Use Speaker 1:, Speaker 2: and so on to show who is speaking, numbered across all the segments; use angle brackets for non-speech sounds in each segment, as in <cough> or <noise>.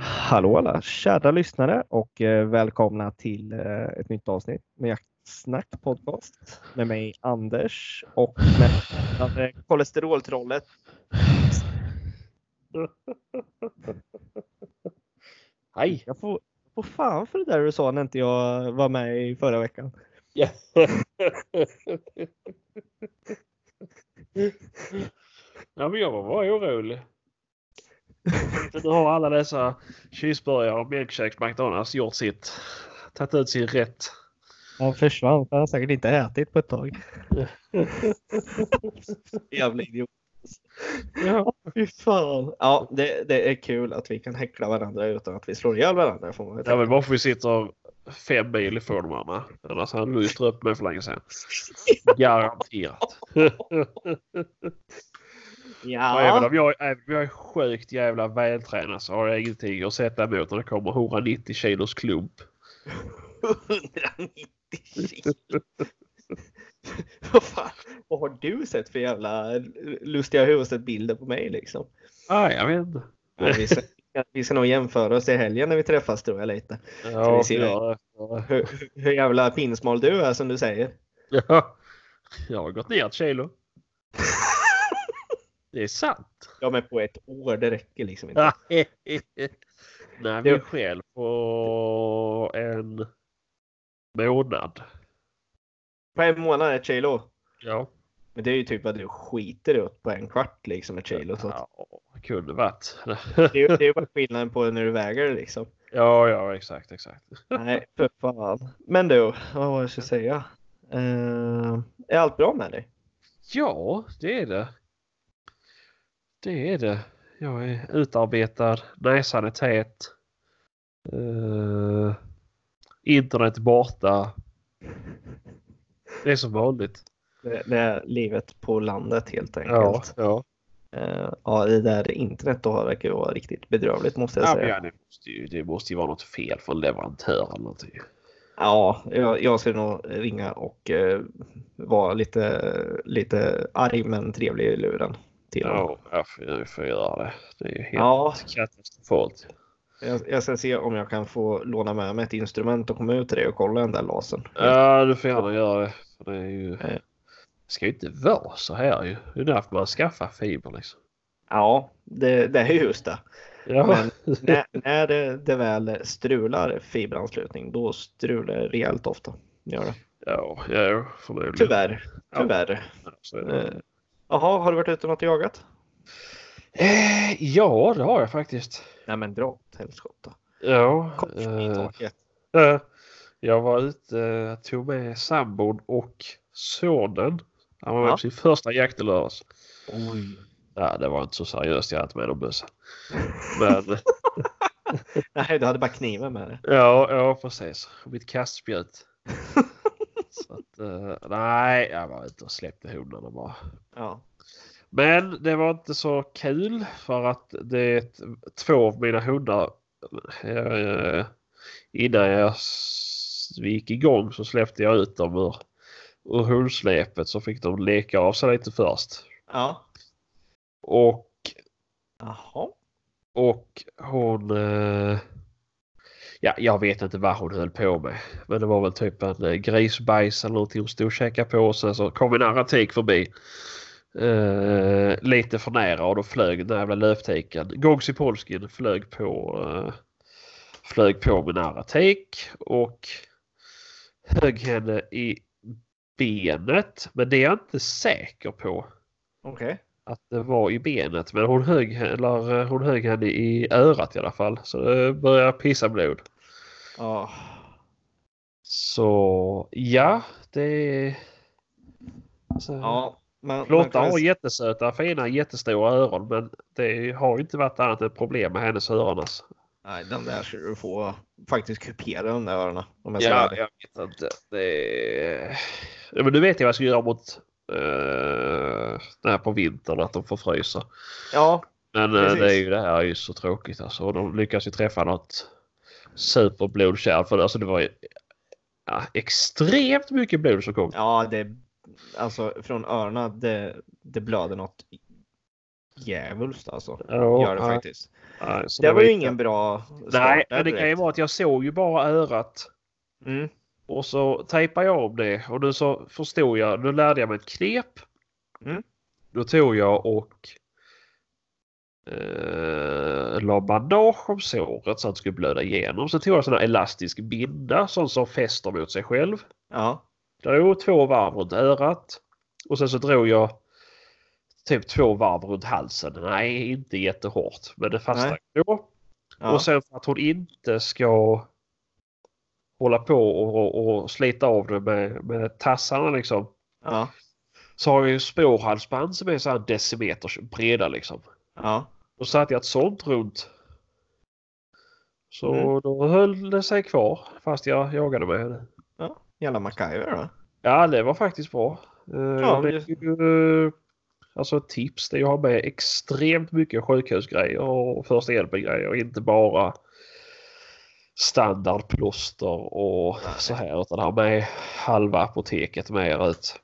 Speaker 1: Hallå alla kära lyssnare och eh, välkomna till eh, ett nytt avsnitt med Jaktsnack podcast med mig Anders och <laughs> med eh, kolesteroltrollet.
Speaker 2: Hej!
Speaker 1: Jag får, får fan för det där du sa när inte jag var med i förra veckan.
Speaker 2: <laughs> Ja. ja, men jag var bara orolig. Nu har alla dessa cheeseburgare och milkshakes McDonalds gjort sitt. Tagit ut sin rätt.
Speaker 1: Han försvann för han har säkert inte ätit på ett tag. Jävla idiot.
Speaker 2: Ja.
Speaker 1: Fy fan. Ja, det, det är kul att vi kan häckla varandra utan att vi slår ihjäl varandra. Får man väl
Speaker 2: Ja, men bara för vi sitter fem mil ifrån varandra. Annars hade du ju ströpt mig för länge sedan. Garanterat.
Speaker 1: tänka.
Speaker 2: Och Även,
Speaker 1: ja.
Speaker 2: om jag, även om jag är sjukt jävla vältränad så har jag ingenting att sätta emot när det kommer 190 kilos klump.
Speaker 1: 190 kilo. <laughs> Vad fan, vad har du sett för jävla lustiga huvudset-bilder på mig liksom?
Speaker 2: Ah, jag vet inte.
Speaker 1: Ja, vi, ska, vi ska nog jämföra oss i helgen när vi träffas tror jag lite.
Speaker 2: Ja,
Speaker 1: vi se.
Speaker 2: ja,
Speaker 1: Hur, hur jävla pinsmal du är som du säger.
Speaker 2: ja. <laughs> Jag har gått ner
Speaker 1: <laughs>
Speaker 2: ett kilo. Det är sant.
Speaker 1: Ja men på ett år, det räcker liksom inte.
Speaker 2: <laughs> Nej, min själ på en månad.
Speaker 1: På en månad ett kilo.
Speaker 2: Ja.
Speaker 1: Men det är ju typ vad du skiter ut på en kvart liksom ett kilo. Så att
Speaker 2: ja kunde varit.
Speaker 1: det, är, ju- det är ju bara skillnaden på när du väger det liksom.
Speaker 2: Ja, ja, exakt, exakt.
Speaker 1: Nej, för fan. Men du, vad var det jag skulle säga? Eh, är allt bra med dig?
Speaker 2: Ja, det är det. Det är det. Jag är utarbetad, näsan är tät. Eh, internet borta. Det är som vanligt.
Speaker 1: Det, det är livet på landet helt
Speaker 2: Ja,
Speaker 1: enkelt.
Speaker 2: ja.
Speaker 1: Ja, ja det där internet då verkar ju vara riktigt bedrövligt måste jag
Speaker 2: ja men
Speaker 1: säga.
Speaker 2: ja, det, måste ju, det måste ju vara något fel från leverantör eller någonting.
Speaker 1: Ja, jag, jag skulle nog ringa och eh, vara lite, lite arg men trevlig i luren. Till honom.
Speaker 2: Ja, jag får, jag får göra det. Det är ju helt
Speaker 1: ja,
Speaker 2: katastrofalt.
Speaker 1: jag, jag ska se om jag kan få låna med mig ett instrument och komma ut till dig och kolla den där lasern.
Speaker 2: Ja, du får gärna göra det. För det är ju...
Speaker 1: Ja.
Speaker 2: Det ska ju inte vara så här ju. Det är därför man skaffar fiber liksom.
Speaker 1: Ja, det, det är just det.
Speaker 2: Ja, <laughs>
Speaker 1: när, när det, det väl strular fiberanslutning, då strular det rejält ofta. Gör det.
Speaker 2: ja, ja förmodligen.
Speaker 1: Tyvärr.
Speaker 2: Ja.
Speaker 1: Tyvärr.
Speaker 2: Så är det.
Speaker 1: Eh, Jaha, har du varit ute något och jagat?
Speaker 2: Eh, ja, det har jag faktiskt.
Speaker 1: Nej men dra åt helskotta.
Speaker 2: Ja,
Speaker 1: Kors i
Speaker 2: eh,
Speaker 1: taket.
Speaker 2: eh, jag var ute, eh, tog med sambon och sonen. Han var med
Speaker 1: Ja.
Speaker 2: på sin första jakt i lördags.
Speaker 1: Oj.
Speaker 2: Ja, det var inte så seriöst jag hade inte med dem bussen. <laughs> Men
Speaker 1: Nej, du hade bara kniven med dig.
Speaker 2: ja, ja precis. Mitt <laughs> kastspjut. Så att, eh, nej, jag var ute och släppte hundarna bara.
Speaker 1: Ja.
Speaker 2: Men det var inte så kul för att det två av mina hundar eh, innan jag s- vi gick igång så släppte jag ut dem ur, ur hundsläpet så fick de leka av sig lite först.
Speaker 1: Ja.
Speaker 2: Och,
Speaker 1: Jaha.
Speaker 2: och hon... Eh, ja, jag vet inte vad hon höll på med. Men det var väl typ en eh, grisbajs eller någonting hon stod och käkade på och sen så kom en annan tik förbi. Eh, lite för nära och då flög den där jävla lövtiken. Gogsi Polskin flög på eh, flög på min nära tik och högg henne i benet. Men det är jag inte säker på
Speaker 1: Okej.
Speaker 2: att det var i benet. Men hon högg, eller, eh, hon högg henne i örat i alla fall. Så det började pissa blod.
Speaker 1: Ja.
Speaker 2: Så ja, det... Så,
Speaker 1: Ja. Man, man
Speaker 2: Lotta
Speaker 1: kan väl-
Speaker 2: har jättesöta, fina, jättestora öron. Men det har ju inte varit annat än problem med hennes öron. Alltså.
Speaker 1: Nej, den där ska du få faktiskt kupera de där öronen. Om jag ska
Speaker 2: Ja,
Speaker 1: vara ärlig.
Speaker 2: jag vet inte. Det... Ja, Men nu vet jag vad jag ska göra mot eh, det här på vintern, att de får frysa.
Speaker 1: ja.
Speaker 2: Men eh,
Speaker 1: Precis.
Speaker 2: det är ju det här är ju så tråkigt alltså. Och de lyckas ju träffa något superblodkärl för det. Alltså det var ju ja, extremt mycket blod som kom.
Speaker 1: Ja, det alltså från öronen, det, det blöder något djävulskt alltså.
Speaker 2: Ja,
Speaker 1: Gör det
Speaker 2: nej,
Speaker 1: faktiskt.
Speaker 2: nej, så
Speaker 1: Det var ju
Speaker 2: gick
Speaker 1: ingen bra start
Speaker 2: Nej,
Speaker 1: där
Speaker 2: det kan ju
Speaker 1: direkt.
Speaker 2: vara att jag såg ju bara örat.
Speaker 1: Mm.
Speaker 2: Och så tejpade jag om det och nu så förstod jag. Nu lärde jag mig ett knep.
Speaker 1: Mm.
Speaker 2: Då tog jag och eh, la bandage om såret så att det skulle blöda igenom. Så tog jag en sån här elastisk binda sån som fäster mot sig själv.
Speaker 1: Ja.
Speaker 2: Drog två varv runt örat. Och sen så drog jag typ två varv runt halsen. Nej, inte jättehårt. Men det fastnade ändå.
Speaker 1: ja.
Speaker 2: Och sen för att hon inte ska hålla på och, och, och slita av det med, med tassarna liksom.
Speaker 1: ja.
Speaker 2: Så har jag ju spårhalsband som är så här en decimeter breda liksom.
Speaker 1: Ja.
Speaker 2: Och satte jag ett sånt runt. Så
Speaker 1: Mm.
Speaker 2: då höll det sig kvar fast jag jagade med henne.
Speaker 1: Ja. Jävla MacGyver då.
Speaker 2: Ja, det var faktiskt bra. Eh,
Speaker 1: Ja,
Speaker 2: det
Speaker 1: just-
Speaker 2: är ju, eh, alltså ett tips det är att ha med extremt mycket sjukhusgrejer och första hjälpen-grejer. Inte bara standardplåster och
Speaker 1: Nej.
Speaker 2: så här. Utan ha med halva apoteket med er ut.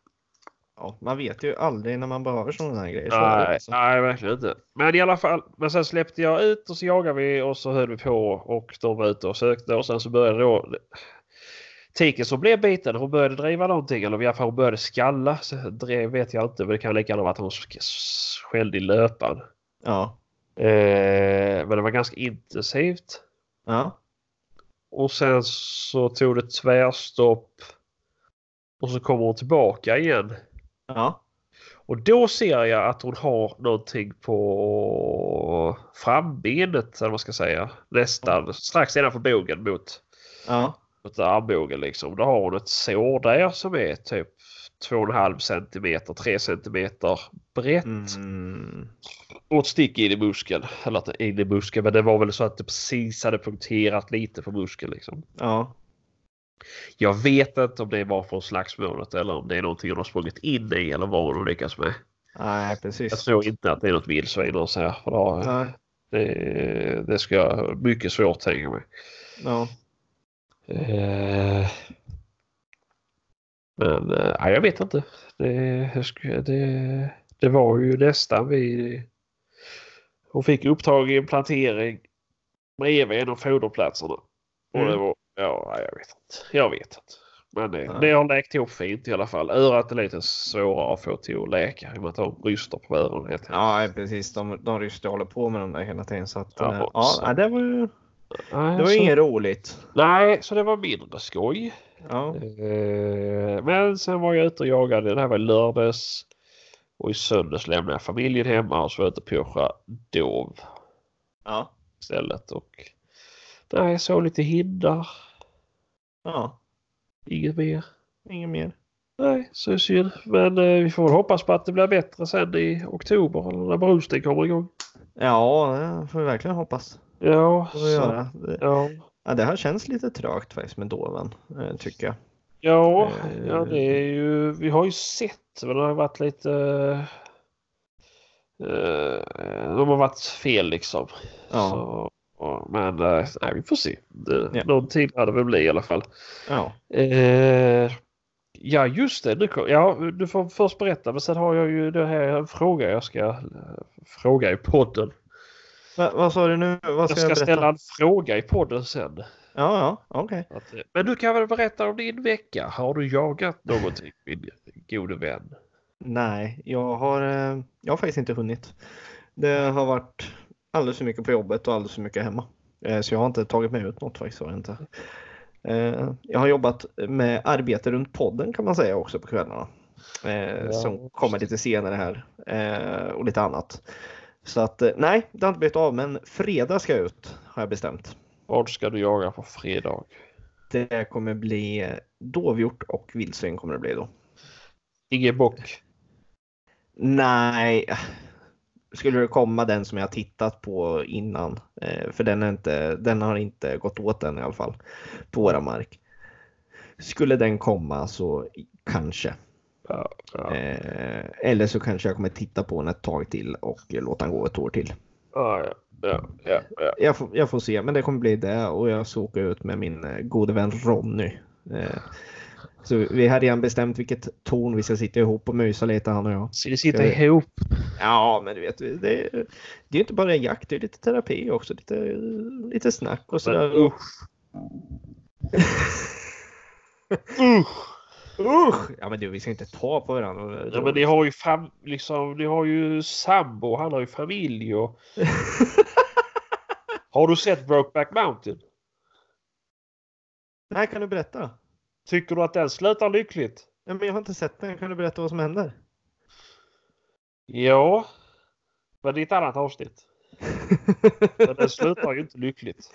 Speaker 1: Ja, man vet ju aldrig när man behöver sådana här grejer. Så är det,
Speaker 2: Nej,
Speaker 1: alltså.
Speaker 2: nej, verkligen inte. Men i alla fall. Men sen släppte jag ut och så jagade vi och så höll vi på och de var ute och sökte och sen så började då Tiken som blev biten, hon började driva någonting eller i alla fall hon började skalla. Så drev vet jag inte men det kan lika gärna vara att hon sk- s- skällde i löpan.
Speaker 1: Ja.
Speaker 2: Eh, men det var ganska intensivt.
Speaker 1: Ja.
Speaker 2: Och sen så tog det tvärstopp. Och så kommer hon tillbaka igen.
Speaker 1: Ja.
Speaker 2: Och då ser jag att hon har någonting på frambenet eller vad man ska säga. Nästan strax innanför bogen mot,
Speaker 1: Ja.
Speaker 2: mot armbågen liksom. Då har hon ett sår där som är typ 2,5 centimeter, 3 centimeter brett.
Speaker 1: Mm.
Speaker 2: Och ett stick in i muskeln. Eller att det är in i muskeln men det var väl så att det precis hade punkterat lite på muskeln liksom.
Speaker 1: Ja.
Speaker 2: Jag vet inte om det var från slagsmålet eller om det är någonting hon har sprungit in i eller vad hon har lyckats med.
Speaker 1: Nej,
Speaker 2: Jag
Speaker 1: precis.
Speaker 2: tror inte att det är något vildsvin och så här. För då,
Speaker 1: Nej.
Speaker 2: Det, det ska jag ha mycket svårt tänka mig.
Speaker 1: Ja.
Speaker 2: Eh, Men eh, nej, jag vet inte. Det, jag sk- det, det var ju nästan vid... Hon fick upptag i en plantering bredvid en av foderplatserna. Och det
Speaker 1: Mm.
Speaker 2: var, ja, nej, jag vet inte. Jag vet inte. Men det,
Speaker 1: Nej.
Speaker 2: det har läkt ihop fint i alla fall. Örat är lite svårare att få till att läka i och med att de ryster på öronen. helt enkelt.
Speaker 1: Ja, precis. De, de ryska håller på med de där hela tiden. Så att,
Speaker 2: Ja,
Speaker 1: eh,
Speaker 2: och
Speaker 1: ja,
Speaker 2: så-
Speaker 1: ja, det var ju
Speaker 2: Nej,
Speaker 1: det var
Speaker 2: så-
Speaker 1: inget roligt.
Speaker 2: Nej, så det var mindre skoj.
Speaker 1: Ja.
Speaker 2: Eh, Men sen var jag ute och jagade. Det här var i lördags. Och i söndags lämnade jag familjen hemma och så var jag ute och pyrschade dov
Speaker 1: Ja.
Speaker 2: istället. Och nej, jag såg lite hindar.
Speaker 1: ja.
Speaker 2: Inget mer.
Speaker 1: Inget mer.
Speaker 2: Nej, så är det synd. Men eh, vi får väl hoppas på att det blir bättre sen i oktober eller när brusten kommer igång.
Speaker 1: Ja, det får vi verkligen hoppas.
Speaker 2: Ja,
Speaker 1: Får vi
Speaker 2: så,
Speaker 1: göra. Det,
Speaker 2: ja.
Speaker 1: ja, det här känns lite trögt faktiskt med doven, eh, tycker jag.
Speaker 2: Ja,
Speaker 1: Eh.
Speaker 2: ja, det är ju, vi har ju sett, men det har varit lite... eh, de har varit fel liksom.
Speaker 1: Ja.
Speaker 2: Så, ja, men eh, nej, vi får se. Det,
Speaker 1: Ja.
Speaker 2: Någonting hade väl bli i alla fall.
Speaker 1: Ja.
Speaker 2: Eh, ja, just det. Du, kom- ja, du får först berätta, men sen har jag ju det här en fråga jag ska eh, fråga i podden.
Speaker 1: Va, vad sa du nu? Vad
Speaker 2: Jag
Speaker 1: ska
Speaker 2: ska
Speaker 1: jag, berätta?
Speaker 2: ställa en fråga i podden sen.
Speaker 1: Ja, ja, okej.
Speaker 2: Att, eh, men du kan väl berätta om din vecka? Har du jagat någonting, min gode vän?
Speaker 1: Nej, jag har, eh, jag har faktiskt inte hunnit. Det har varit alldeles för mycket på jobbet och alldeles för mycket hemma. Eh, Så jag har inte tagit mig ut något faktiskt. Har jag, inte. Eh, jag har jobbat med arbete runt podden kan man säga också på kvällarna. Eh,
Speaker 2: Ja,
Speaker 1: som
Speaker 2: just
Speaker 1: kommer lite senare här. eh, Och lite annat. Så att eh, nej, det har inte blivit av. Men fredag ska jag ut har jag bestämt.
Speaker 2: Vad ska du jaga på fredag?
Speaker 1: Det kommer bli eh, dovhjort och vildsvin kommer det bli då.
Speaker 2: Ingen bock.
Speaker 1: Nej, skulle det komma den som jag har tittat på innan. eh, För den, är inte, den har inte gått åt än i alla fall på våra mark. Skulle den komma så kanske.
Speaker 2: Ja, ja.
Speaker 1: Eh, Eller så kanske jag kommer titta på den ett tag till och eh, låta den gå ett år till.
Speaker 2: Ja, ja, ja, ja, ja.
Speaker 1: Jag får, jag får se, men det kommer bli det och jag ska åka ut med min eh, gode vän Ronny. Eh, Så vi hade redan bestämt vilket torn vi ska sitta ihop och mysa lite han och jag.
Speaker 2: Så ni sitter
Speaker 1: Jag-
Speaker 2: ihop.
Speaker 1: Ja, men du vet, det är, det är inte bara en jakt, det är lite terapi också. Lite, lite snack och sådär.
Speaker 2: Men, usch. Usch!
Speaker 1: Usch! Ja, men du, vi ska inte ta på varandra.
Speaker 2: Ja, men ni har ju fam, liksom, ni har ju sambo, han har ju familj och... <laughs> har du sett Brokeback Mountain?
Speaker 1: Det här kan du berätta.
Speaker 2: Tycker du att den slutar lyckligt?
Speaker 1: Ja, men jag har inte sett den. Kan du berätta vad som händer?
Speaker 2: Ja. Men det är ett annat avsnitt. Men den slutar ju inte lyckligt.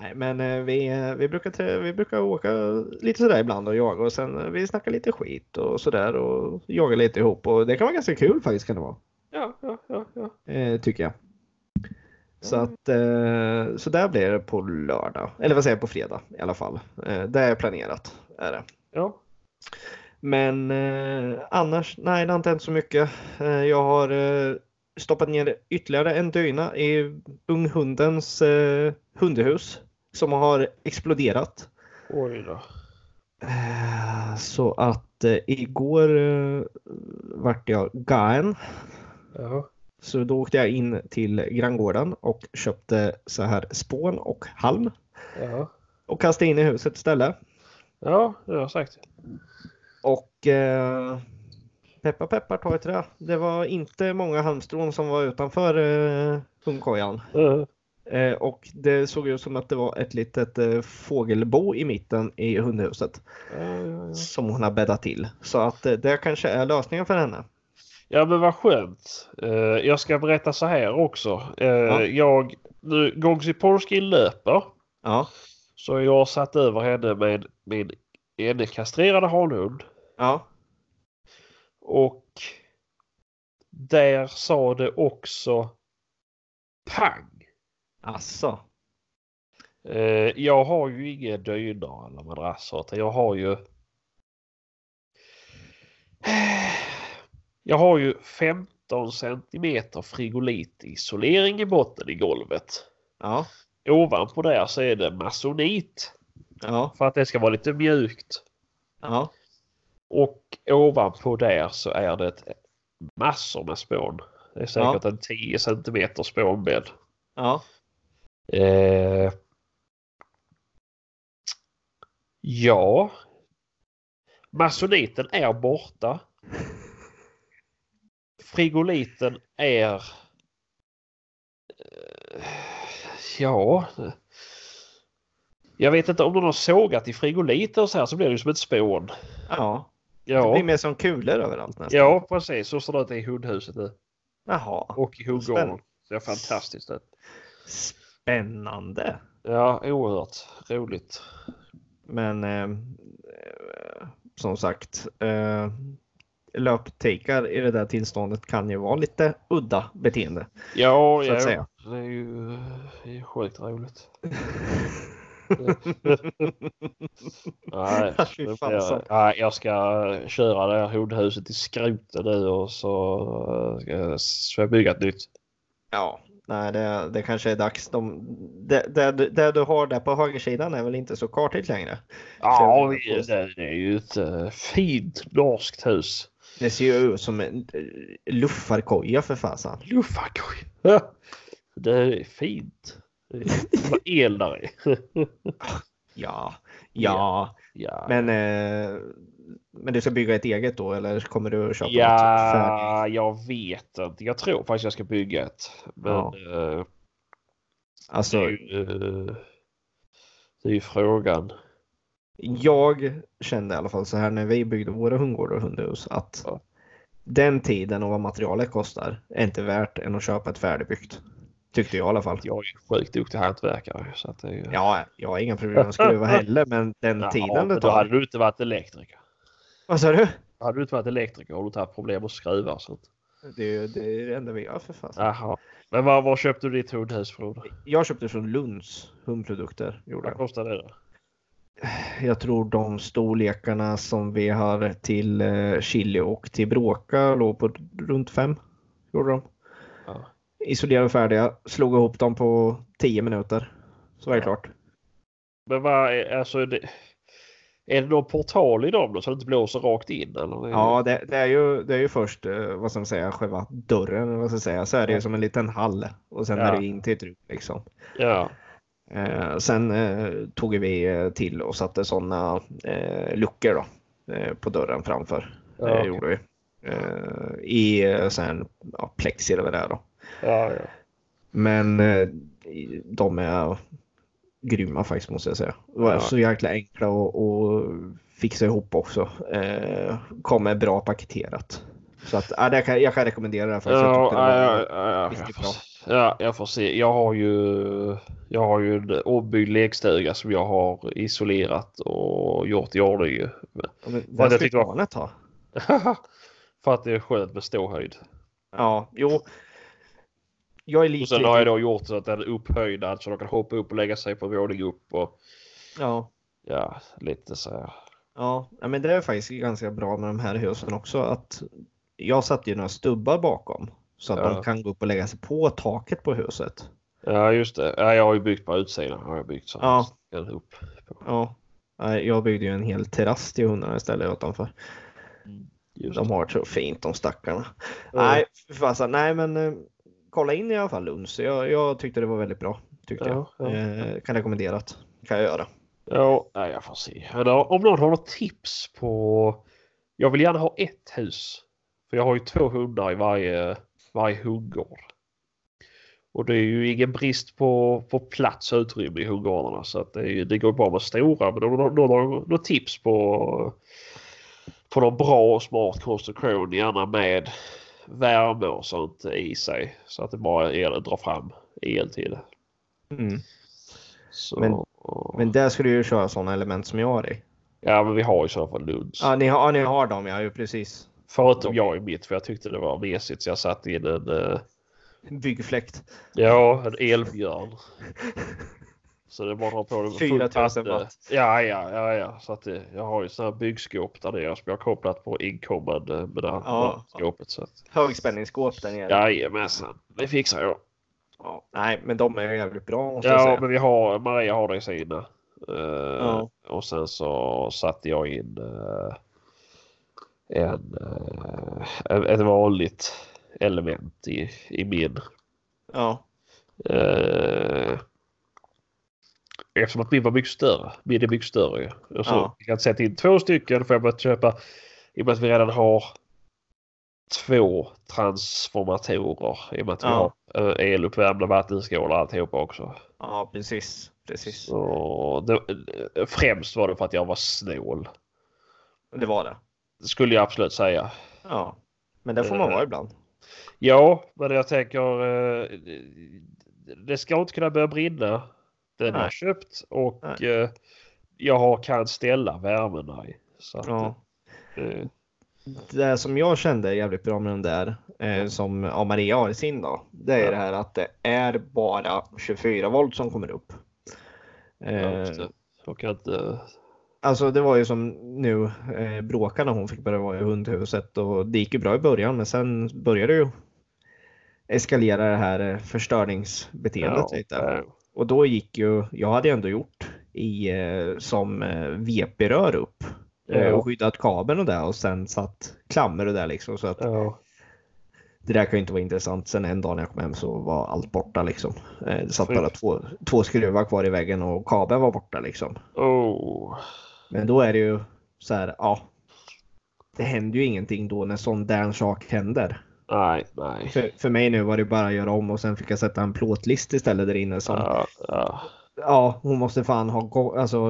Speaker 1: Nej, men eh, vi, eh, vi, brukar, trä- vi brukar åka lite sådär ibland och jaga och sen eh, vi snackar lite skit och sådär och jagar lite ihop och det kan vara ganska kul faktiskt kan det vara.
Speaker 2: Ja, ja, ja. ja.
Speaker 1: Eh, tycker jag. Så att eh, så där blir det på lördag, eller vad säger jag, på fredag i alla fall. Eh, det är planerat. Är det.
Speaker 2: ja.
Speaker 1: Men eh, annars, nej det har inte hänt så mycket. Eh, jag har eh, stoppat ner ytterligare en dyna i unghundens eh, hundhus som har exploderat.
Speaker 2: Oj då.
Speaker 1: Eh, Så att eh, igår eh, vart jag galen.
Speaker 2: Ja.
Speaker 1: Så då åkte jag in till granngården och köpte så här spån och halm
Speaker 2: Ja.
Speaker 1: och kastade in i huset istället.
Speaker 2: Ja, det har jag sagt.
Speaker 1: Och eh, peppa peppar ta i trä. Det var inte många halmstrån som var utanför eh, hundkojan.
Speaker 2: Ja.
Speaker 1: Eh, och det såg ut som att det var ett litet eh, fågelbo i mitten i hundhuset
Speaker 2: Ja, ja, ja.
Speaker 1: som hon har bäddat till. Så att eh, det kanske är lösningen för henne.
Speaker 2: Ja men vad skönt. Eh, jag ska berätta så här också. Eh,
Speaker 1: Ja.
Speaker 2: Jag, nu Gongsi Polski löper.
Speaker 1: Ja,
Speaker 2: Så jag har satt över henne med min ene kastrerade hanhund.
Speaker 1: ja,
Speaker 2: Och där sa det också pang.
Speaker 1: asså.
Speaker 2: Eh, jag har ju inga dynor eller madrasser. utan Jag har ju... Jag har ju 15 centimeter frigolit isolering i botten i golvet.
Speaker 1: Ja,
Speaker 2: Ovanpå där så är det masonit
Speaker 1: ja,
Speaker 2: för att det ska vara lite mjukt.
Speaker 1: ja,
Speaker 2: Och ovanpå där så är det massor med spån. Det är säkert en 10 centimeter spånbädd.
Speaker 1: ja,
Speaker 2: Eh, ja. Masoniten är borta. Frigoliten är... Eh, ja. Jag vet inte om någon har sågat i frigoliter så här så blir det ju som ett spån.
Speaker 1: ja. Det
Speaker 2: Ja,
Speaker 1: blir mer som kulor överallt nästan.
Speaker 2: ja precis. Så ser det ut i hundhuset nu.
Speaker 1: Jaha,
Speaker 2: Och i hundgården.
Speaker 1: Spännande.
Speaker 2: Det är fantastiskt ut.
Speaker 1: spännande.
Speaker 2: Ja, oerhört roligt.
Speaker 1: Men eh, eh, som sagt, eh, löptikar i det där tillståndet kan ju vara lite udda beteende.
Speaker 2: Ja,
Speaker 1: Så
Speaker 2: ja
Speaker 1: att säga.
Speaker 2: det är ju eh, det är ju
Speaker 1: <laughs>
Speaker 2: sjukt roligt. Nej,
Speaker 1: Fy
Speaker 2: nu
Speaker 1: fan,
Speaker 2: blir jag,
Speaker 1: så.
Speaker 2: nej, jag ska köra det här hundhuset i skroten nu och så eh, ska jag ska jag bygga ett nytt.
Speaker 1: Ja, nej, det, det kanske är dags. De, det, det, det du har där på högersidan är väl inte så kartigt längre?
Speaker 2: Ja,
Speaker 1: jag vill
Speaker 2: vi- det, det är ju ett eh, fint norskt hus.
Speaker 1: Det ser ju ut som en eh, luffarkoja för fasen.
Speaker 2: Luffakoj. Det är fint. Det är bara el där i.
Speaker 1: Ja, ja.
Speaker 2: Ja. Ja,
Speaker 1: Men, eh, men du ska bygga ett eget då eller kommer du att köpa något färdigt?
Speaker 2: ja jag vet inte. Jag tror faktiskt jag ska bygga ett. Men,
Speaker 1: Ja.
Speaker 2: eh, Det
Speaker 1: Alltså,
Speaker 2: är ju, eh, det är ju frågan.
Speaker 1: jag kände i alla fall så här när vi byggde våra hundgårdar och hundhus att
Speaker 2: Ja.
Speaker 1: den tiden och vad materialet kostar är inte värt än att köpa ett färdigbyggt. Tyckte jag i alla fall.
Speaker 2: Jag är ju sjukt duktig hantverkare. Så att det är ju...
Speaker 1: Ja, jag har inga problem med att
Speaker 2: <laughs>
Speaker 1: skruva heller, men den
Speaker 2: Ja,
Speaker 1: tiden det
Speaker 2: men Då hade
Speaker 1: tar.
Speaker 2: du inte varit elektriker.
Speaker 1: Vad sa du?
Speaker 2: Då Hade du inte varit elektriker hade du inte haft problem att skruva. Så att...
Speaker 1: Det är ju det, är det enda vi gör för fan.
Speaker 2: Jaha. Men var, var köpte du ditt hundhus från?
Speaker 1: Jag köpte från Lunds hundprodukter. Gjorde
Speaker 2: Vad
Speaker 1: jag.
Speaker 2: kostade det? då?
Speaker 1: jag tror de storlekarna som vi har till eh, Chili och till Bråka låg på runt fem. Gjorde de.
Speaker 2: Ja.
Speaker 1: isolerade och färdiga. Slog ihop dem på 10 minuter. Så var det
Speaker 2: Ja.
Speaker 1: klart.
Speaker 2: Men vad är alltså det... Är det någon portal i dem då så det inte blåser rakt in? Eller?
Speaker 1: Ja, det, det, är ju, det är ju först eh, vad ska man säga, själva dörren. eller Vad ska man säga. Så är det ju som en liten hall och sen
Speaker 2: Ja.
Speaker 1: är det in till ett rum. Liksom.
Speaker 2: Ja.
Speaker 1: Eh, sen eh, tog vi eh, till och satte sådana eh, luckor då, eh, på dörren framför.
Speaker 2: Ja,
Speaker 1: det
Speaker 2: okej.
Speaker 1: gjorde vi. Eh, I eh, sen, ja, plexi eller vad det är då.
Speaker 2: Ja, ja.
Speaker 1: Men eh, de är grymma faktiskt måste jag säga. De var
Speaker 2: Ja.
Speaker 1: så jäkla enkla att- att fixa ihop också. Eh, kommer bra paketerat. Så att, ja, det kan, jag kan rekommendera det här faktiskt. Jag
Speaker 2: Ja,
Speaker 1: tyckte det var-
Speaker 2: ja, ja, ja, jag
Speaker 1: riktigt
Speaker 2: får
Speaker 1: bra.
Speaker 2: se. ja, jag får se. Jag har ju, jag har ju en ombyggd lekstuga som jag har isolerat och gjort i ordning. ju. <laughs> Men-
Speaker 1: Ja, men
Speaker 2: Vad
Speaker 1: det
Speaker 2: jag
Speaker 1: ska
Speaker 2: tyckte var-
Speaker 1: barnet ha.
Speaker 2: För att det är skönt med ståhöjd.
Speaker 1: Ja, jo. Jag är
Speaker 2: Och
Speaker 1: lite...
Speaker 2: sen har jag då gjort så att den är upphöjd så de kan hoppa upp och lägga sig på en våning upp och
Speaker 1: ja,
Speaker 2: ja, lite så här.
Speaker 1: ja, ja, men det är faktiskt ganska bra med de här husen också. Att jag satte ju några stubbar bakom. Så att
Speaker 2: Ja.
Speaker 1: de kan gå upp och lägga sig på taket på huset.
Speaker 2: Ja, just det. Ja, jag har ju byggt på utsidan. Har jag byggt så här.
Speaker 1: Ja.
Speaker 2: Sen Upp.
Speaker 1: Ja. Nej, Jag byggde ju en hel terrass till hundarna istället utanför.
Speaker 2: Just
Speaker 1: De
Speaker 2: det.
Speaker 1: har det så fint de stackarna.
Speaker 2: Mm.
Speaker 1: Nej, för fasen, nej men eh, kolla in i alla fall Lunds. Jag, jag tyckte det var väldigt bra. Tyckte
Speaker 2: Ja, ja.
Speaker 1: jag. Eh, kan rekommendera det. Kan jag göra.
Speaker 2: Ja, nej, jag får se. Eller, om någon har något tips på... Jag vill gärna ha ett hus. För jag har ju två hundar i varje, varje hundgård. Och det är ju ingen brist på, på plats och utrymme i hundgårdarna. Så att det, är ju- det går bra med stora. Men om någon någon har något tips på, på någon bra och smart konstruktion. Gärna med värme och sånt i sig. Så att det bara el, drar fram el till det.
Speaker 1: Mm.
Speaker 2: Så,
Speaker 1: Men- Men där skulle du ju köra sådana element som jag har i.
Speaker 2: Ja, men vi har i så fall Lunds.
Speaker 1: Ja, ni har, ja, ni har dem ja, ju precis.
Speaker 2: Förutom jag i mitt, för jag tyckte det var mesigt så jag satte in en, eh,
Speaker 1: Byggfläkt.
Speaker 2: ja, en
Speaker 1: <laughs>
Speaker 2: elbjörn. Så det är bara att ha på det.
Speaker 1: 4000
Speaker 2: fullt
Speaker 1: watt.
Speaker 2: Ja, ja, ja, ja. Så att det, jag har ju sådana här byggskåp där nere som jag har kopplat på inkommande med det här
Speaker 1: Ja.
Speaker 2: skåpet. Så att,
Speaker 1: Högspänningsskåp där nere.
Speaker 2: jajamensan, det fixar jag.
Speaker 1: Ja, Nej, men de är ju jävligt bra måste jag
Speaker 2: Ja,
Speaker 1: säga.
Speaker 2: men vi har, Maria har det i sina. Eh,
Speaker 1: Ja.
Speaker 2: Och sen så satte jag in eh, en, eh, ett vanligt element i, i min
Speaker 1: Ja.
Speaker 2: Eh, eftersom att min var mycket större. Min är mycket större. ju. Och så
Speaker 1: Ja.
Speaker 2: jag kan sätta in två stycken för jag börjat köpa. I och med att vi redan har två transformatorer. I och med att
Speaker 1: Ja.
Speaker 2: vi har eh, eluppvärmda vattenskålar och alltihopa också.
Speaker 1: ja, precis. precis.
Speaker 2: Så det, främst var det för att jag var snål.
Speaker 1: Det var det.
Speaker 2: Det skulle jag absolut säga.
Speaker 1: Ja. Men det får man vara ibland.
Speaker 2: Ja, men jag tänker. eh, Det ska inte kunna börja brinna. Den har
Speaker 1: Nej.
Speaker 2: köpt och eh, jag har, kan ställa värmen i. Så att,
Speaker 1: Ja.
Speaker 2: eh,
Speaker 1: det som jag kände är jävligt bra med den där, eh, som ja, Maria har i sin då, det är
Speaker 2: Ja.
Speaker 1: det här att det är bara 24 volt som kommer upp.
Speaker 2: ja,
Speaker 1: Eh,
Speaker 2: just det. jag kan inte.
Speaker 1: alltså det var ju som nu eh, bråkarna hon fick börja vara i hundhuset och det gick ju bra i början men sen började det ju eskalera det här eh, förstörningsbeteendet
Speaker 2: ja,
Speaker 1: lite.
Speaker 2: eh,
Speaker 1: Och då gick ju, jag hade ändå gjort i eh, som eh, VP-rör upp eh,
Speaker 2: Ja.
Speaker 1: och skyddat kabeln och där och sen satt klammer och där liksom så att
Speaker 2: ja.
Speaker 1: det där kan ju inte vara intressant. Sen en dag när jag kom hem så var allt borta liksom. Eh, Det satt
Speaker 2: Fy.
Speaker 1: bara två, två skruvar kvar i väggen och kabeln var borta liksom.
Speaker 2: Oh.
Speaker 1: Men då är det ju så här, ja. Det händer ju ingenting då när sån där sak händer.
Speaker 2: Nej, nej.
Speaker 1: För, för mig nu var det bara att göra om och sen fick jag sätta en plåtlist istället där inne som, ja,
Speaker 2: Ja, ja.
Speaker 1: hon måste fan ha, go- alltså,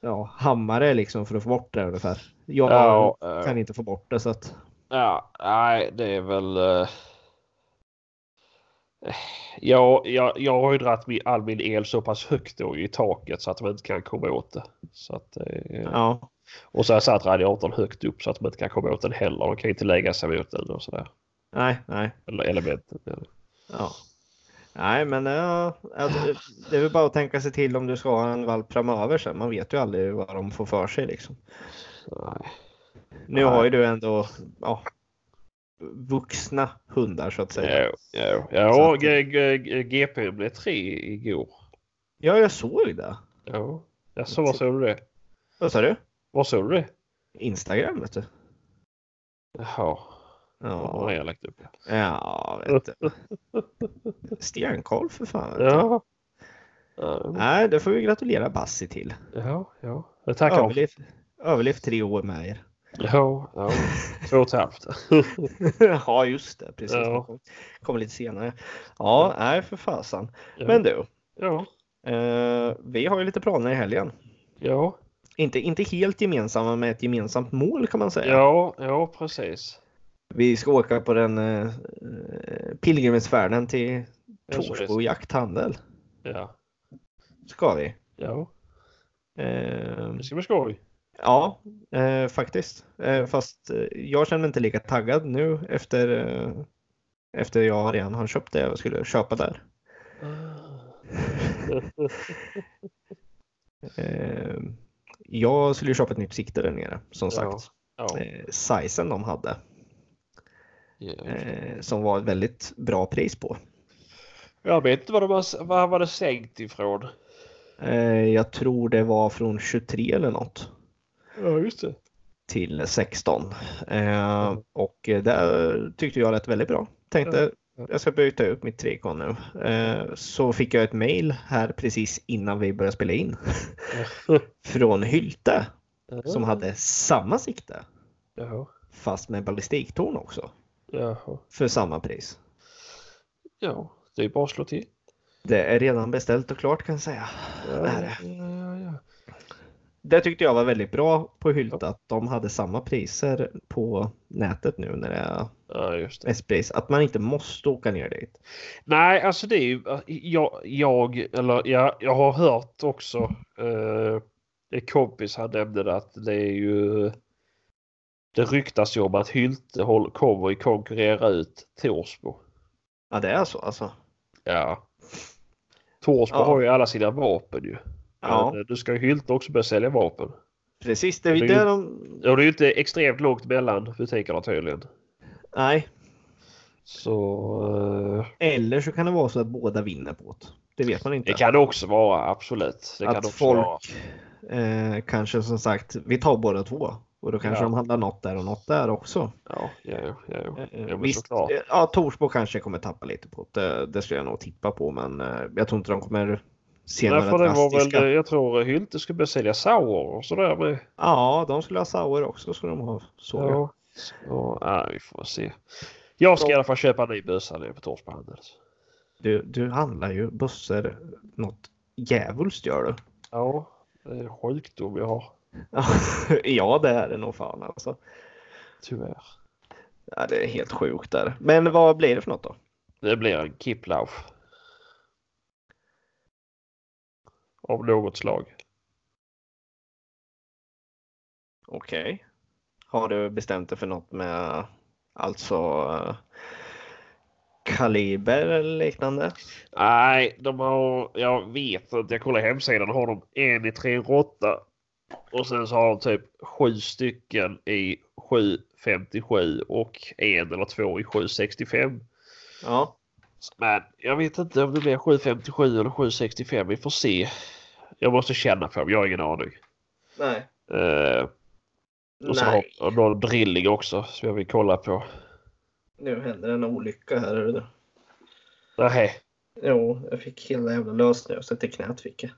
Speaker 1: ja, hammare liksom för att få bort det ungefär. Jag
Speaker 2: Ja, ja.
Speaker 1: kan inte få bort det så att,
Speaker 2: Ja, nej, det är väl... eh, Ja, jag, jag har ju dragit min, all min el så pass högt då i taket så att man inte kan komma åt det. Så att, eh,
Speaker 1: ja.
Speaker 2: Och så har jag satt radiatorn högt upp så att man inte kan komma åt den heller. De kan ju inte lägga sig mot den och sådär.
Speaker 1: Nej, nej.
Speaker 2: Eller elementen. eller.
Speaker 1: Ja. Nej, men ja, alltså, det är väl bara att tänka sig till om du ska ha en valp framöver sen. Man vet ju aldrig vad de får för sig liksom.
Speaker 2: Nej.
Speaker 1: Nu har ju du ändå ja, vuxna hundar så att säga.
Speaker 2: Ja, ja,
Speaker 1: Så
Speaker 2: ja.
Speaker 1: att-
Speaker 2: G- G- G- GP blev tre igår.
Speaker 1: Ja, jag såg det.
Speaker 2: Ja, jag så vad såg du det?
Speaker 1: Vad sa du?
Speaker 2: Var såg du det?
Speaker 1: Instagram vet du.
Speaker 2: Jaha, vad har
Speaker 1: Ja,
Speaker 2: jag lagt upp?
Speaker 1: ja vet du. Stenkoll för fan. vet du.
Speaker 2: Ja. Ja,
Speaker 1: Nej, det får vi gratulera Bassi till.
Speaker 2: ja, ja. Jag tackar.
Speaker 1: Överlevt, överlevt tre år med
Speaker 2: <laughs>
Speaker 1: er.
Speaker 2: Ja,
Speaker 1: <laughs>
Speaker 2: ja. Två och ett halvt.
Speaker 1: ja, just det. Precis.
Speaker 2: Ja.
Speaker 1: Kommer kom lite senare. Ja, nej för fasen. Men du,
Speaker 2: Ja,
Speaker 1: eh, vi har ju lite planer i helgen.
Speaker 2: ja,
Speaker 1: Inte, inte helt gemensamma med ett gemensamt mål kan man säga.
Speaker 2: ja, ja, precis.
Speaker 1: Vi ska åka på den eh, pilgrimsfärden till
Speaker 2: Ja, så
Speaker 1: Torsbo jakthandel.
Speaker 2: det- Ja,
Speaker 1: Ska vi.
Speaker 2: ja,
Speaker 1: Eh,
Speaker 2: det ska bli skoj.
Speaker 1: ja, eh, faktiskt. Eh, fast eh, jag känner mig inte lika taggad nu efter, eh, efter jag redan har köpt det jag skulle köpa där. Eh, jag skulle ju köpa ett nytt sikte där nere som sagt.
Speaker 2: Ja,
Speaker 1: Eh, sizen de hade
Speaker 2: ja.
Speaker 1: eh, som var ett väldigt bra pris på.
Speaker 2: Jag vet inte vad det var, vad var det sänkt ifrån.
Speaker 1: Eh, jag tror det var från 23 eller något
Speaker 2: Ja, just det.
Speaker 1: till 16 eh, och det tyckte jag lät väldigt bra. Tänkte
Speaker 2: Ja.
Speaker 1: jag ska byta ut mitt trikon nu. Eh, så fick jag ett mail här precis innan vi började spela in från Hylte som hade samma sikte
Speaker 2: Ja,
Speaker 1: fast med ballistiktorn också
Speaker 2: ja,
Speaker 1: för samma pris.
Speaker 2: ja, det är bara att slå till.
Speaker 1: Det är redan beställt och klart kan jag säga. Det här är-
Speaker 2: ja, ja.
Speaker 1: Det tyckte jag var väldigt bra på Hylta att de hade samma priser på nätet nu när det är
Speaker 2: ja just det.
Speaker 1: S-pris. Att man inte måste åka ner dit.
Speaker 2: Nej, alltså det är ju, jag, jag eller ja, jag har hört också, eh, en kompis han nämnde det, att det är ju, det ryktas ju om att Hylte håll- kommer att konkurrera ut Torsbo.
Speaker 1: Ja det är så alltså.
Speaker 2: Ja. Torsbo
Speaker 1: Ja.
Speaker 2: har ju alla sina vapen ju.
Speaker 1: Ja
Speaker 2: Men, eh, nu ska ju Hylte också börja sälja vapen.
Speaker 1: precis. Det är ju
Speaker 2: Det är
Speaker 1: det
Speaker 2: ju-
Speaker 1: de...
Speaker 2: Och det är ju inte extremt lågt mellan butikerna tydligen.
Speaker 1: Nej.
Speaker 2: Så eh,
Speaker 1: Eller så kan det vara så att båda vinner på det. Det vet man inte.
Speaker 2: det kan det också vara, absolut. Det kan
Speaker 1: att
Speaker 2: det också vara.
Speaker 1: folk eh, kanske som sagt, vi tar båda två. Och då kanske
Speaker 2: Ja.
Speaker 1: de handlar något där och något där också.
Speaker 2: Ja, ja, ja, ja.
Speaker 1: Eh,
Speaker 2: men
Speaker 1: Visst,
Speaker 2: såklart.
Speaker 1: eh, ja, Torsbo kanske kommer tappa lite på det. Det skulle jag nog tippa på, men eh, jag tror inte de kommer se
Speaker 2: Nej,
Speaker 1: några
Speaker 2: för det var
Speaker 1: drastiska.
Speaker 2: väl, jag tror Hylte skulle börja sälja sauer och sådär med.
Speaker 1: Ja, de skulle ha Sauer också, skulle de ha. Såg jag.
Speaker 2: Ja. Så, ja, vi får se. Jag ska
Speaker 1: Ja.
Speaker 2: i alla fall köpa en ny bössa nere på Torsby Handel.
Speaker 1: Du, du handlar ju bussar något djävulskt gör du. <laughs>
Speaker 2: Ja, det är en sjukdom jag har.
Speaker 1: ja, det är det nog fan alltså.
Speaker 2: Tyvärr.
Speaker 1: Ja, det är helt sjukt där. Men vad blir det för något då?
Speaker 2: Det blir en kipplauf. Av något slag.
Speaker 1: Okej. Har du bestämt dig för något med alltså eh, kaliber eller liknande?
Speaker 2: Nej, de har... Jag vet inte. Jag kollar hemsidan. Har de en i 308 och sen så har de typ sju stycken i 757 och en eller två i 765.
Speaker 1: Ja.
Speaker 2: Men jag vet inte om det blir 757 eller 765. Vi får se. Jag måste känna på dem. Jag har ingen aning.
Speaker 1: Nej.
Speaker 2: Eh, och så
Speaker 1: Nej.
Speaker 2: har de någon drilling också som jag vill kolla på.
Speaker 1: Nu händer en olycka här. hörru du.
Speaker 2: Nej.
Speaker 1: Jo, jag fick hela jävla lösnöset i knät fick jag.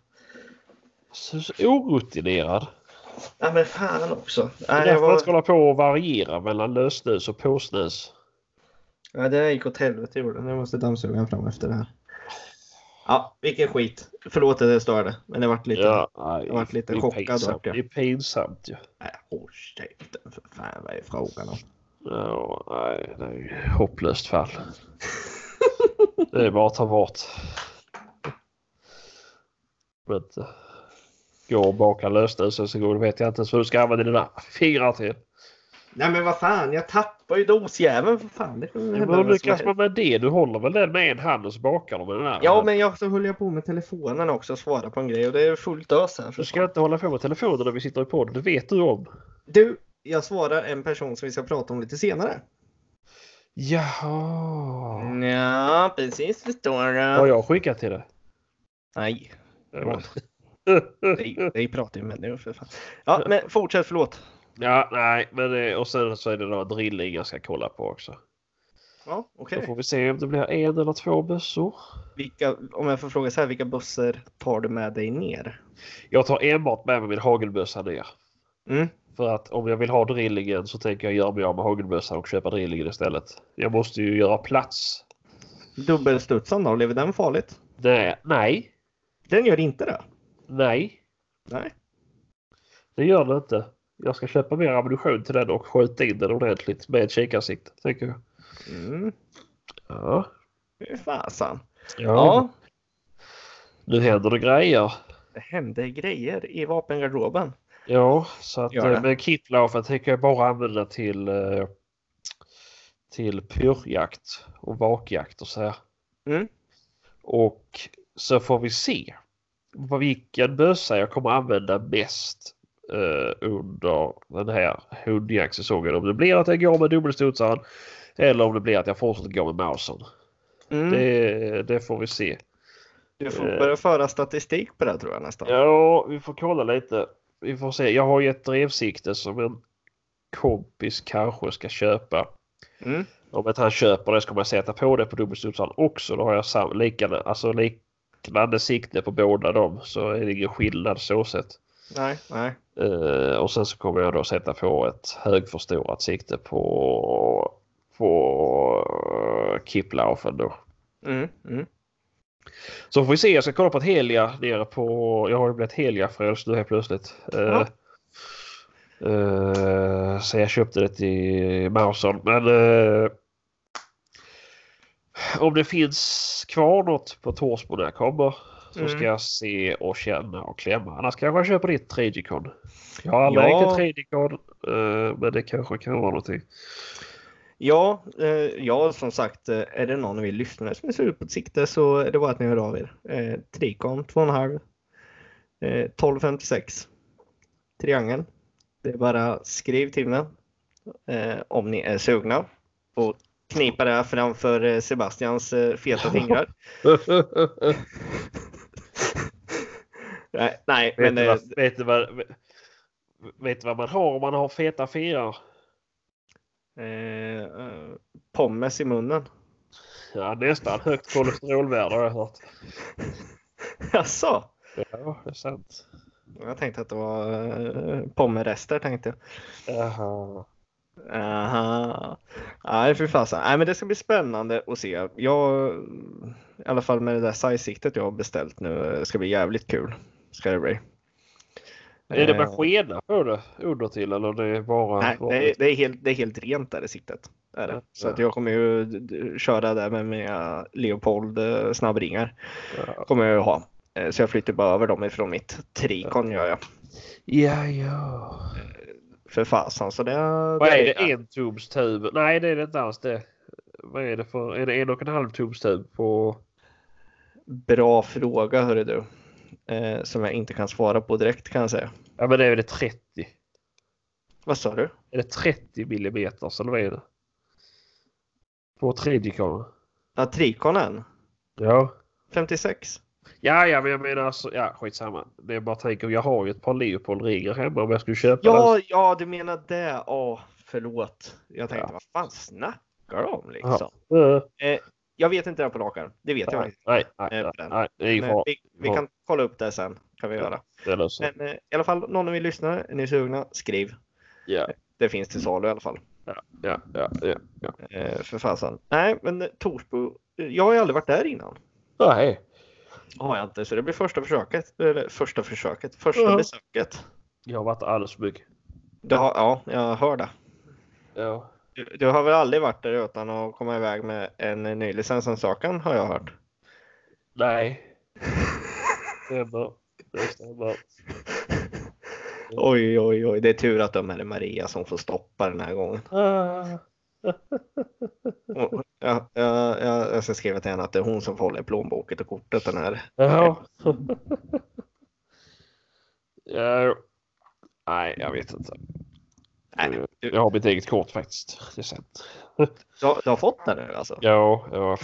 Speaker 2: Så, så orutinerad.
Speaker 1: Ja men fan också.
Speaker 2: Det är
Speaker 1: Nej, jag
Speaker 2: därför man
Speaker 1: var...
Speaker 2: ska hålla på och variera mellan lössnus och påsnus.
Speaker 1: ja, det där gick åt helvete gjorde det. Jag måste dammsuga den fram efter det här. Ja, vilken skit. Förlåt att jag störde, men det vart lite...
Speaker 2: Ja, nej,
Speaker 1: jag varit lite
Speaker 2: det är
Speaker 1: chockad
Speaker 2: Pinsamt.
Speaker 1: vart jag.
Speaker 2: Det är pinsamt ju.
Speaker 1: Nej, håll käften för fan. Vad är frågan om?
Speaker 2: Ja, nej, det är ju ett
Speaker 1: <laughs>
Speaker 2: hopplöst fall. det är bara att ta bort. Men, eh, gå och baka lösnus och så går det vet jag inte ens vad du ska använda dina fingrar till.
Speaker 1: Nej men vad fan, jag tappar ju dosjäveln för fan. Det kan ju
Speaker 2: Ja,
Speaker 1: hända
Speaker 2: Men hur
Speaker 1: vad som
Speaker 2: lyckas man
Speaker 1: helst.
Speaker 2: med det? Du håller väl den med en hand och så bakar du med den andra?
Speaker 1: Ja men jag, så höll jag på med telefonen också och svara på en grej och det är fullt ös här. för
Speaker 2: Du
Speaker 1: fan.
Speaker 2: ska inte hålla på med telefonen när vi sitter i podden. Det vet du om.
Speaker 1: Du, jag svarar en person som vi ska prata om lite senare.
Speaker 2: Jaha.
Speaker 1: Ja, precis förstår
Speaker 2: Har
Speaker 1: du.
Speaker 2: jag skickat till dig?
Speaker 1: Nej.
Speaker 2: Det var-
Speaker 1: <laughs> Nej, nej pratar ju människor för fan. Ja, men fortsätt, förlåt.
Speaker 2: Ja, nej, men det, och sen så är det några drilling jag ska kolla på också.
Speaker 1: Ja, okej.
Speaker 2: Då får vi se om det blir en eller två bussor.
Speaker 1: Vilka, om jag får fråga så här, vilka bussar tar du med dig ner?
Speaker 2: Jag tar enbart med mig min hagelbössa ner.
Speaker 1: Mm.
Speaker 2: För att om jag vill ha drillingen så tänker jag göra mig av med hagelbössan och köpa drillingen istället. Jag måste ju göra plats.
Speaker 1: Dubbelstudsaren då, lever den farligt?
Speaker 2: Nej, nej,
Speaker 1: Den gör inte det.
Speaker 2: nej,
Speaker 1: Nej.
Speaker 2: det gör det inte. Jag ska köpa mer ammunition till den och skjuta in den ordentligt med ett kikarsikte, tänker jag.
Speaker 1: Mm.
Speaker 2: Ja.
Speaker 1: Fy fasen.
Speaker 2: ja.
Speaker 1: Ja,
Speaker 2: Nu händer det grejer.
Speaker 1: det hände grejer i vapengarderoben.
Speaker 2: Ja, så att
Speaker 1: Gör det.
Speaker 2: eh, men kitlaufen tänker jag bara använda till eh, till pyrjakt och vakjakt och så här.
Speaker 1: Mm.
Speaker 2: Och så får vi se vad- vilken bössa jag kommer använda mest eh, under den här hundjaktsäsongen. Om det blir att jag går med dubbelstudsaren eller om det blir att jag fortsätter gå med mausen.
Speaker 1: Mm.
Speaker 2: Det, det får vi se.
Speaker 1: Du får
Speaker 2: eh.
Speaker 1: börja föra statistik på det här, tror jag nästan.
Speaker 2: Ja, vi får kolla lite. Vi får se. Jag har ju ett drevsikte som en kompis kanske ska köpa.
Speaker 1: Mm.
Speaker 2: Om inte han köper det så kommer jag sätta på det på dubbelstudsaren också. Då har jag sam- liknande, alltså liknande sikte på båda dem. Så är det ingen skillnad så sett.
Speaker 1: Nej, nej.
Speaker 2: Eh, och sen så kommer jag då sätta på ett högförstorat sikte på, på eh, Kiplaufen då.
Speaker 1: Mm. Mm.
Speaker 2: Så får vi se, jag ska kolla på ett Helia nere på... Jag har ju blivit Helia-frälst nu helt plötsligt.
Speaker 1: Ja.
Speaker 2: Eh, eh, så jag köpte det i Mauson. Men eh, om det finns kvar något på Torsbo när jag kommer så
Speaker 1: Mm.
Speaker 2: ska jag se och känna och klämma. Annars kanske jag köper ditt Tradicon. Jag har aldrig
Speaker 1: Ja.
Speaker 2: ägt ett Tradicon eh, men det kanske kan
Speaker 1: <laughs>
Speaker 2: vara någonting.
Speaker 1: Ja, eh, ja, som sagt, eh, är det någon av er lyssnare som är sur på ett sikte så är det bara att ni hör av er. Eh, Trikon 2,5 eh, 1256 Triangeln. Det är bara skriv till mig eh, om ni är sugna och knipa det här framför eh, Sebastians eh, feta
Speaker 2: <laughs>
Speaker 1: fingrar. nej, nej, men
Speaker 2: Vet, du
Speaker 1: eh,
Speaker 2: vad, vet, du vad, vet, vet du vad man har om man har feta fyrar?
Speaker 1: eh, eh, pommes i munnen. <laughs>
Speaker 2: Ja, nästan högt kolesterolvärde har jag hört.
Speaker 1: Jaså?
Speaker 2: Ja, det är sant.
Speaker 1: Jag tänkte att det var eh, pommerester tänkte jag.
Speaker 2: Jaha.
Speaker 1: Aha. Nej, fy fasen. Nej, men det ska bli spännande att se. Jag, I alla fall med det där size-siktet jag har beställt nu, eh, ska bli jävligt kul. Ska det bli.
Speaker 2: Är det
Speaker 1: Eh,
Speaker 2: med skena på det under till eller det är bara
Speaker 1: Nej, det, är-
Speaker 2: vanligt?
Speaker 1: det, är helt, det är helt rent där i siktet. Är det. Så att jag kommer ju d- d- köra där med mina Leopold eh, snabbringar.
Speaker 2: Ja.
Speaker 1: Kommer jag ju ha. Eh, Så jag flyttar bara över dem ifrån mitt Trikon gör jag.
Speaker 2: Ja, ja.
Speaker 1: För fasen. Så det,
Speaker 2: Vad är det? En tubs tub? Nej, det är det inte alls det. Vad är det för? Är det en och en halv tubs tub på?
Speaker 1: Bra fråga hörru du. Eh, som jag inte kan svara på direkt kan jag säga.
Speaker 2: Ja, men det är väl 30.
Speaker 1: Vad sa du?
Speaker 2: Är det 30 millimeter eller vad är det? På tredje kameran?
Speaker 1: Ja, trikonen.
Speaker 2: Ja.
Speaker 1: 56.
Speaker 2: Ja, ja, men jag menar alltså, ja, skitsamma. Det är bara tänker, jag har ju ett par Leopold-ringar hemma om jag skulle köpa den.
Speaker 1: Ja, ja, du menar det. Ja, förlåt. Jag tänkte,
Speaker 2: Ja.
Speaker 1: vad fan snackar du om liksom?
Speaker 2: Eh,
Speaker 1: Jag vet inte det på rak arm. Det vet jag
Speaker 2: Nej,
Speaker 1: inte.
Speaker 2: nej, nej,
Speaker 1: Eh,
Speaker 2: nej,
Speaker 1: den.
Speaker 2: nej, det är ingen
Speaker 1: Men
Speaker 2: fara.
Speaker 1: vi, vi kan kolla upp det sen. Kan vi göra.
Speaker 2: Det löser sig.
Speaker 1: Men eh, i alla fall, någon av er lyssnare, är ni sugna? Skriv.
Speaker 2: Ja,
Speaker 1: Det finns till salu i alla fall.
Speaker 2: ja, ja, ja. ja.
Speaker 1: Eh, för fasen. Nej, men eh, Torsbo. eh, Jag har ju aldrig varit där innan.
Speaker 2: Nej.
Speaker 1: Har jag inte, så det blir första försöket. Eller första försöket. Första
Speaker 2: Ja.
Speaker 1: besöket.
Speaker 2: Jag har varit alldeles för mycket.
Speaker 1: Det har, ja, jag hör det.
Speaker 2: Ja.
Speaker 1: Du, du har väl aldrig varit där utan att komma iväg med en ny licensansökan har jag
Speaker 2: <laughs>
Speaker 1: hört. <laughs>
Speaker 2: Nej. Stämmer. Det stämmer.
Speaker 1: Oj, oj, oj. Det är tur att de är Maria som får stoppa den här gången.
Speaker 2: Ah.
Speaker 1: Och- Ja, ja, ja, jag ska skriva till henne att det är hon som får hålla i plånboken och kortet den här.
Speaker 2: Ja. <laughs> ja. Nej, jag vet inte.
Speaker 1: Nej, du-
Speaker 2: Jag har mitt eget kort faktiskt. Det är sant.
Speaker 1: Du, har- du har fått den nu alltså?
Speaker 2: Ja, ja.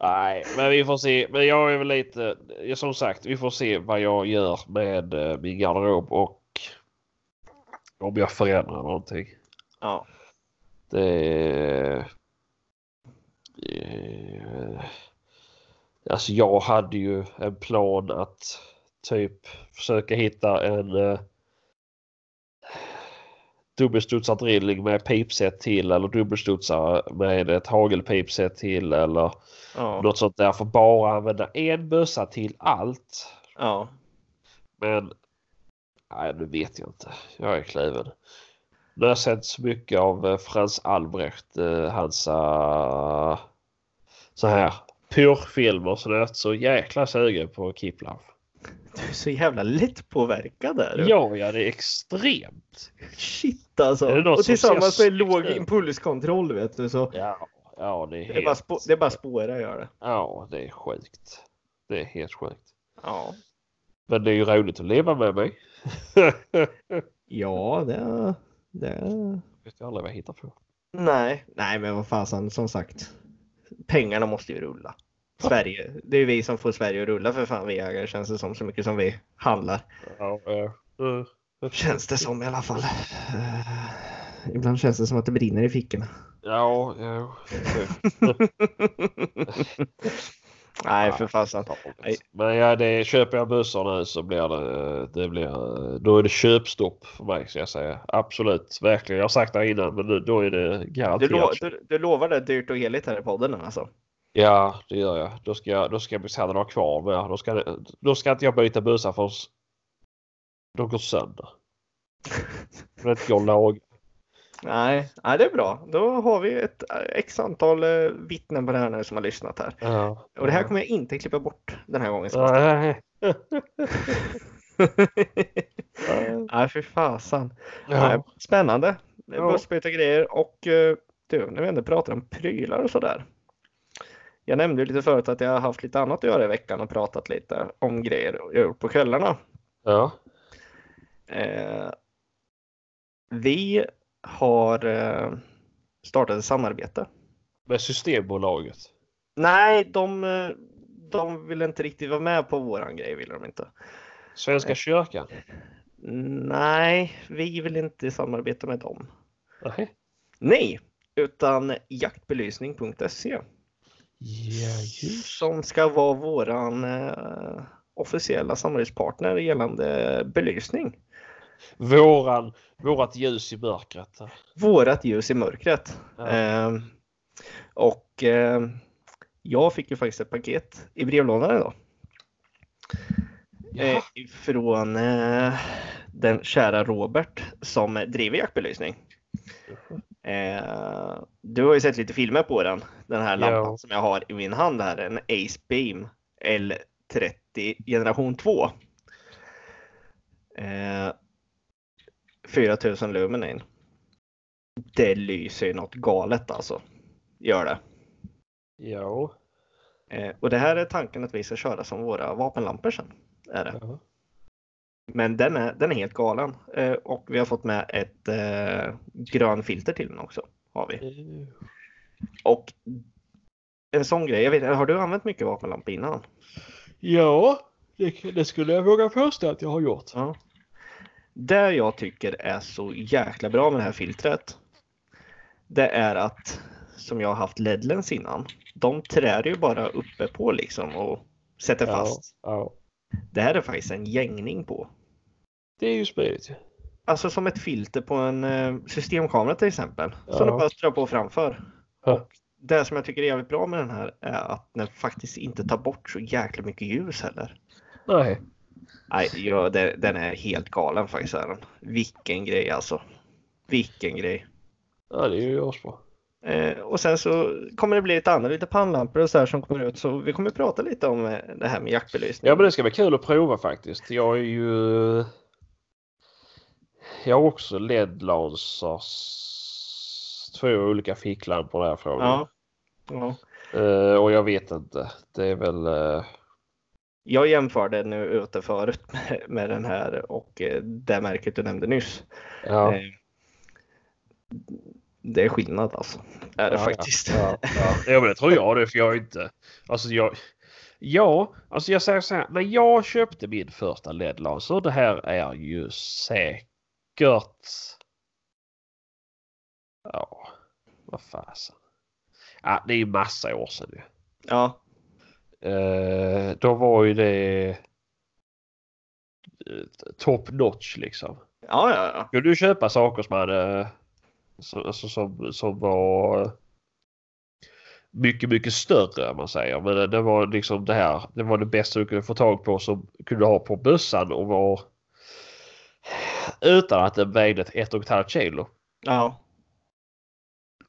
Speaker 2: Nej, men vi får se. Men jag är väl lite, som sagt, vi får se vad jag gör med eh, min garderob och om jag förändrar någonting.
Speaker 1: Ja.
Speaker 2: Det är... Eh, Alltså jag hade ju en plan att typ försöka hitta en eh, dubbelstudsad drilling med pipset till eller dubbelstudsare med ett hagelpipset till eller
Speaker 1: Ja.
Speaker 2: något sånt där för bara använda en bössa till allt.
Speaker 1: ja.
Speaker 2: Men nej, nu vet jag inte. Jag är kluven. Nu har jag sett så mycket av eh, Frans Albrecht, eh, hans eh, så här purfilmer så jag är så jäkla sugen på Kipling.
Speaker 1: Du är så jävla lättpåverkad där.
Speaker 2: Ja, ja, det är extremt.
Speaker 1: Shit alltså.
Speaker 2: Är det något
Speaker 1: Och
Speaker 2: som
Speaker 1: tillsammans
Speaker 2: ser
Speaker 1: med låg
Speaker 2: snyggt ut?
Speaker 1: impulskontroll vet du så.
Speaker 2: Ja, ja, det är helt.
Speaker 1: Det är bara, spå, det är bara spåra gör det.
Speaker 2: Ja, det är sjukt. Det är helt sjukt.
Speaker 1: Ja.
Speaker 2: Men det är ju roligt att leva med mig. <laughs>
Speaker 1: Ja, det... det...
Speaker 2: vet jag aldrig vad jag hittar på.
Speaker 1: Nej, nej men vad fasen som sagt. Pengarna måste ju rulla. Sverige, det är ju vi som får Sverige att rulla för fan vi ägare känns det som så mycket som vi handlar.
Speaker 2: Ja, eh, eh.
Speaker 1: Känns det som i alla fall. Eh, Ibland känns det som att det brinner i fickorna.
Speaker 2: ja, ja.
Speaker 1: Nej för fasen. Nej.
Speaker 2: Men ja, det, köper jag bussar nu så blir det, eh, det blir, då är det köpstopp för mig ska jag säga. Absolut, verkligen. Jag har sagt det innan men nu, då är det
Speaker 1: Du,
Speaker 2: garanterat.
Speaker 1: lo-
Speaker 2: köp.
Speaker 1: du, du lovar det dyrt och heligt här i podden alltså.
Speaker 2: Ja, det gör jag. Då ska jag, då ska jag beställa några kvar med. Då ska, det- då ska inte jag byta bussar förrän de går sönder. För det går lag.
Speaker 1: Nej, nej, det är bra. Då har vi ett eh, x antal eh, vittnen på det här nu som har lyssnat här.
Speaker 2: Ja.
Speaker 1: Och det här kommer jag inte klippa bort den här gången.
Speaker 2: Nej.
Speaker 1: <laughs> Nej, för fasen. Nej,
Speaker 2: Ja.
Speaker 1: spännande.
Speaker 2: Ja.
Speaker 1: Bussbyte och grejer och eh, du, när vi ändå pratar om prylar och sådär. Jag nämnde ju lite förut att jag har haft lite annat att göra i veckan och pratat lite om grejer jag gjort på kvällarna.
Speaker 2: Ja.
Speaker 1: Eh, vi har eh, startat ett samarbete.
Speaker 2: Med Systembolaget.
Speaker 1: Nej, de, eh, de ville inte riktigt vara med på våran grej, ville de inte.
Speaker 2: Svenska kyrkan.
Speaker 1: Nej, vi vill inte samarbeta med dem.
Speaker 2: Nej.
Speaker 1: Nej, utan jaktbelysning.se
Speaker 2: Ja, just.
Speaker 1: som ska vara våran eh, officiella samarbetspartner gällande belysning.
Speaker 2: Våran, vårat ljus i mörkret.
Speaker 1: Vårat ljus i mörkret.
Speaker 2: Ja.
Speaker 1: Eh, och eh, jag fick ju faktiskt ett paket i brevlådan idag.
Speaker 2: Ja.
Speaker 1: eh, från eh, den kära Robert som driver jaktbelysning. Eh, du har ju sett lite filmer på den. Den här
Speaker 2: Ja.
Speaker 1: lampan som jag har i min hand här, en Ace Beam L30 generation 2. Eh, 4000 lumen in. Det lyser ju något galet alltså. Gör det.
Speaker 2: Ja.
Speaker 1: Eh, och det här är tanken att vi ska köra som våra vapenlampor sen. Är det.
Speaker 2: ja.
Speaker 1: Men den är, den är helt galen. Eh, och vi har fått med ett eh, grön filter till den också. Har vi. Och en sån grej, jag vet, har du använt mycket vapenlampa innan?
Speaker 2: Ja, det, det skulle jag våga påstå att jag har gjort.
Speaker 1: Ja. Det jag tycker är så jäkla bra med det här filtret. Det är att, som jag har haft ledlens innan, de trär ju bara uppe på liksom och sätter fast.
Speaker 2: Ja, ja.
Speaker 1: Det här är faktiskt en gängning på.
Speaker 2: Det är ju smidigt. ju.
Speaker 1: Alltså som ett filter på en eh, systemkamera till exempel. Som
Speaker 2: Ja.
Speaker 1: du bara strör på framför.
Speaker 2: Ja.
Speaker 1: Och det som jag tycker är jävligt bra med den här är att den faktiskt inte tar bort så jäkla mycket ljus heller.
Speaker 2: Nej.
Speaker 1: Nej, ja, det, den är helt galen faktiskt. Är den. Vilken grej alltså. Vilken grej.
Speaker 2: Ja, det är ju asbra.
Speaker 1: Eh, och sen så kommer det bli lite andra, lite pannlampor och så här som kommer ut. Så vi kommer prata lite om eh, det här med jaktbelysning.
Speaker 2: Ja, men det ska bli kul att prova faktiskt. Jag är ju... Jag har också LED-lansers två olika ficklampor därifrån.
Speaker 1: Ja. ja.
Speaker 2: Eh, och jag vet inte. Det är väl... eh,
Speaker 1: Jag jämförde nu ute förut <laughs> med, med den eh, här och eh, det märket du nämnde nyss.
Speaker 2: ja.
Speaker 1: Eh, det är skillnad alltså. Är det
Speaker 2: Ja,
Speaker 1: faktiskt.
Speaker 2: Ja, ja. <laughs> ja men det tror jag det för jag är inte. Alltså jag. Ja, alltså jag säger så här. När jag köpte min första led så det här är ju säkert. Ja, vad fasen. Ja, det är ju massa år sedan ju.
Speaker 1: <laughs> Ja,
Speaker 2: Eh, då var ju det. eh, Top notch liksom.
Speaker 1: ja, ja. ja.
Speaker 2: Skulle du köpa saker som hade som, alltså, som, som var eh, mycket, mycket större om man säger. Men det, det var liksom det här. Det var det bästa du kunde få tag på som kunde ha på bössan och var utan att den vägde ett- ett och ett halvt kilo.
Speaker 1: ja.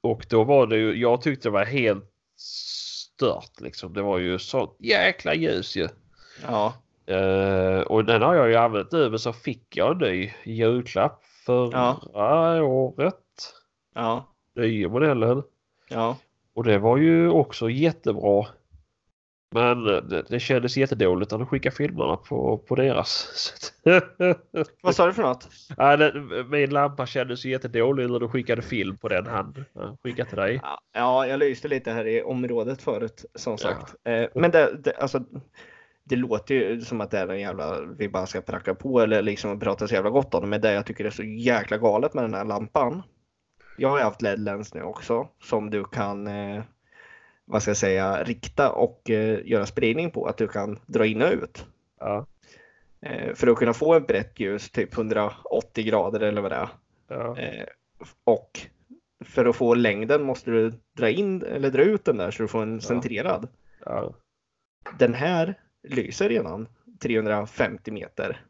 Speaker 2: Och då var det ju, jag tyckte det var helt stört liksom. Det var ju sånt jäkla ljus ju.
Speaker 1: ja.
Speaker 2: Eh, och den har jag ju använt nu men så fick jag en ny julklapp förra året.
Speaker 1: Ja,
Speaker 2: nya modellen.
Speaker 1: ja,
Speaker 2: Och det var ju också jättebra. Men det, det kändes jättedåligt när de skickade filmerna på, på deras. <laughs> Så att-
Speaker 1: Vad sa du för något?
Speaker 2: ja, det, min lampa kändes ju jättedålig när de skickade film på den hand. Ja, Skickade till dig.
Speaker 1: Ja, Ja, jag lyste lite här i området förut som sagt. Eh, Men det, det, alltså, det låter ju som att det är en jävla vi bara ska pracka på eller liksom prata så jävla gott om det. Men det jag tycker är så jäkla galet med den här lampan. Jag har ju haft LED lens nu också som du kan eh, vad ska jag säga, rikta och eh, göra spridning på. Att du kan dra in och ut.
Speaker 2: Ja,
Speaker 1: Eh, för att kunna få ett brett ljus, typ 180 grader eller vad det är.
Speaker 2: ja,
Speaker 1: Eh, och för att få längden måste du dra in eller dra ut den där så du får en centrerad.
Speaker 2: ja,
Speaker 1: Den här lyser redan 350 meter.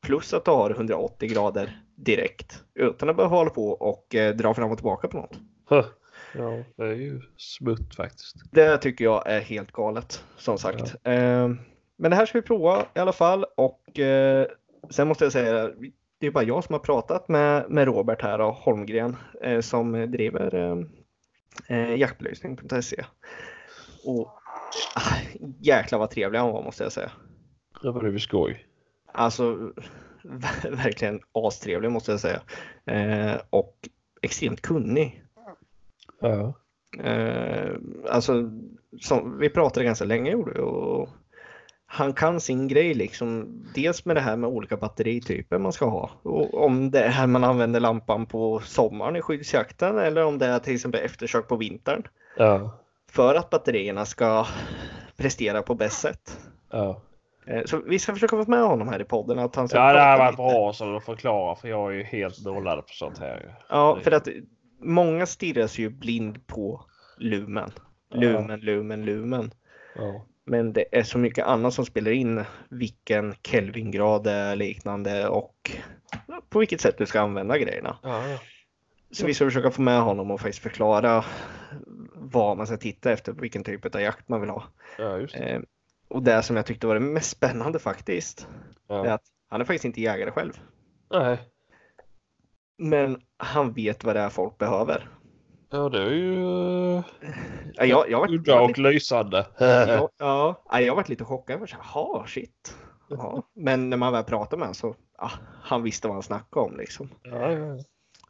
Speaker 1: Plus att du har 180 grader direkt utan att behöva hålla på och eh, dra fram och tillbaka på något.
Speaker 2: Huh. ja, det är ju smutt faktiskt.
Speaker 1: Det tycker jag är helt galet som sagt. Eh, men det här ska vi prova i alla fall och eh, sen måste jag säga det är bara jag som har pratat med, med Robert här och Holmgren eh, som driver eh, eh, jaktbelysning.se. Och ah, jäklar vad trevlig han var måste jag säga.
Speaker 2: Det var ju skoj.
Speaker 1: Alltså <laughs> ver- verkligen astrevlig måste jag säga. Eh, och extremt kunnig.
Speaker 2: Ja,
Speaker 1: Eh, alltså, som, vi pratade ganska länge gjorde vi, och han kan sin grej liksom. Dels med det här med olika batterityper man ska ha. Och om det är man använder lampan på sommaren i skyddsjakten eller om det är till exempel eftersök på vintern.
Speaker 2: ja,
Speaker 1: För att batterierna ska prestera på bäst sätt.
Speaker 2: ja.
Speaker 1: Eh, Så vi ska försöka få med honom här i podden. Att han ska
Speaker 2: Ja, det
Speaker 1: prata
Speaker 2: här var
Speaker 1: lite.
Speaker 2: bra som de förklarar för jag är ju helt nollad på sånt här. ju.
Speaker 1: Ja, för att många stirrar sig ju blind på lumen. Lumen, lumen, lumen.
Speaker 2: Ja,
Speaker 1: Men det är så mycket annat som spelar in vilken Kelvingrad det är liknande och på vilket sätt du ska använda grejerna.
Speaker 2: ja, ja.
Speaker 1: Så vi ska försöka få med honom och faktiskt förklara vad man ska titta efter, vilken typ av jakt man vill ha.
Speaker 2: ja just det.
Speaker 1: Eh, Och det som jag tyckte var det mest spännande faktiskt, är
Speaker 2: Ja.
Speaker 1: att han är faktiskt inte jägare själv.
Speaker 2: Nej.
Speaker 1: Men han vet vad det är folk behöver.
Speaker 2: Ja, det är ju eh,
Speaker 1: Ja, Jag, jag, varit,
Speaker 2: udda och <laughs> lysande.
Speaker 1: jag, ja, ja, jag varit lite chockad. Jag var så här, Jaha, shit. Ja. Men när man väl pratade med honom så ja, han visste vad han snackade om. Liksom.
Speaker 2: Ja, <laughs> ja.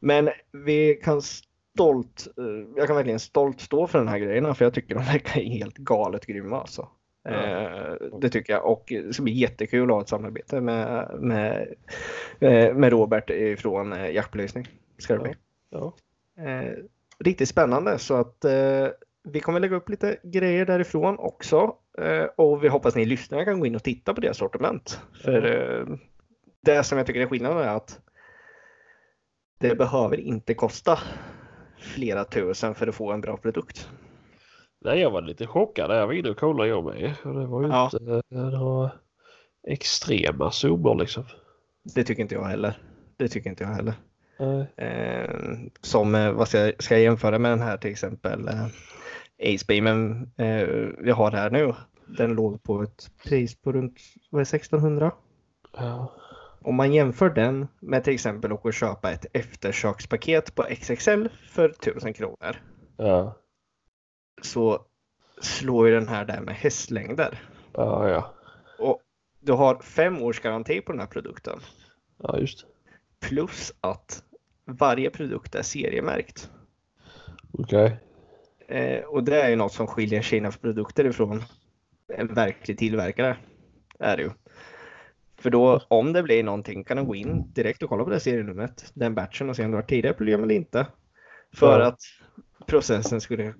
Speaker 1: Men vi kan stolt, eh, jag kan verkligen stolt stå för den här grejen för jag tycker de verkar helt galet grymma alltså.
Speaker 2: Ja.
Speaker 1: Eh, Det tycker jag och det ska bli jättekul att ha ett samarbete med, med, eh, med Robert från Jaktbelysning. Ska det bli.
Speaker 2: Ja.
Speaker 1: Eh, Riktigt spännande så att eh, vi kommer lägga upp lite grejer därifrån också eh, och vi hoppas ni lyssnare kan gå in och titta på deras sortiment. För eh, det som jag tycker är skillnaden är att det behöver inte kosta flera tusen för att få en bra produkt.
Speaker 2: Nej, jag var lite chockad. Jag var inne och kollade jag med. Och det var ju
Speaker 1: Ja.
Speaker 2: inte eh, några extrema zoomar liksom.
Speaker 1: Det tycker inte jag heller. Det tycker inte jag heller.
Speaker 2: Nej.
Speaker 1: Eh, som, eh, vad ska jag, ska jag jämföra med den här till exempel? Eh, Acebeamen eh, vi har här nu. Den låg på ett pris på runt vad är det, 1600.
Speaker 2: Ja.
Speaker 1: Om man jämför den med till exempel att gå och köpa ett eftersökspaket på XXL för 1000 kronor
Speaker 2: Ja.
Speaker 1: så slår ju den här där med hästlängder.
Speaker 2: Ja, ja.
Speaker 1: Och du har fem års garanti på den här produkten.
Speaker 2: Ja, just det.
Speaker 1: Plus att varje produkt är seriemärkt.
Speaker 2: Okej.
Speaker 1: Eh, och det är ju något som skiljer Kinas produkter ifrån en verklig tillverkare. Är det ju. För då om det blir någonting kan de gå in direkt och kolla på det serienumret, den batchen och se om det var tidigare problem eller inte. För
Speaker 2: Ja.
Speaker 1: att processen skulle,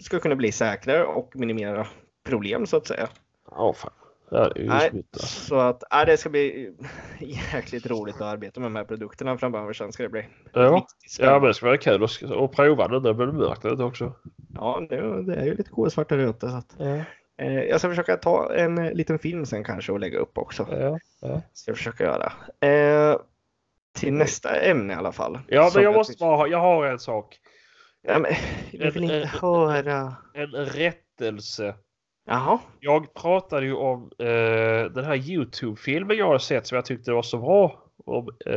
Speaker 1: ska kunna bli säkrare och minimera problem så att säga.
Speaker 2: Ja, fan. Det här är ju
Speaker 1: Nej,
Speaker 2: smitt, alltså.
Speaker 1: så att nej, det ska bli jäkligt roligt att arbeta med de här produkterna framöver. Sen ska det bli
Speaker 2: Ja.
Speaker 1: riktigt
Speaker 2: ja, men
Speaker 1: spännande.
Speaker 2: det ska vara kul att- att prova det där med mörkt ute också.
Speaker 1: Ja, det, det är ju lite kolsvart där ute. Så att,
Speaker 2: Ja,
Speaker 1: eh, jag ska försöka ta en eh, liten film sen kanske och lägga upp också.
Speaker 2: ja, ja.
Speaker 1: Ska jag försöka göra. Eh, till nästa ämne i alla fall.
Speaker 2: ja
Speaker 1: Som
Speaker 2: men jag måste
Speaker 1: tycker-
Speaker 2: bara ha, jag har en sak.
Speaker 1: Ja, men, <laughs> du
Speaker 2: Eh,
Speaker 1: vill inte höra.
Speaker 2: En rättelse.
Speaker 1: Jaha.
Speaker 2: Jag pratade ju om eh, den här Youtube-filmen jag har sett som jag tyckte var så bra. Om eh,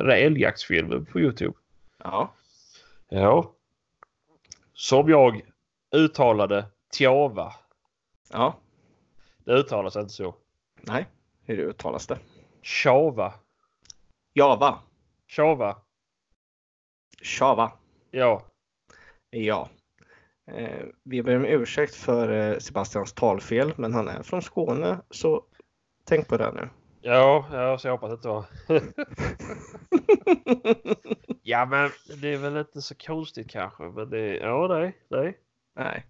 Speaker 2: den här älgjaktsfilmen på Youtube.
Speaker 1: Ja.
Speaker 2: Ja. Som jag uttalade Tjava.
Speaker 1: Ja.
Speaker 2: Det uttalas inte så.
Speaker 1: Nej. Hur uttalas det?
Speaker 2: Tjava.
Speaker 1: Java.
Speaker 2: Tjava.
Speaker 1: Java.
Speaker 2: Ja.
Speaker 1: Ja. Eh, vi ber om ursäkt för eh, Sebastians talfel, men han är från Skåne, så tänk på det nu.
Speaker 2: Ja, ja så jag hoppas att det var. ja, men det är väl inte så konstigt kanske. Men det, ja, nej, nej.
Speaker 1: Nej.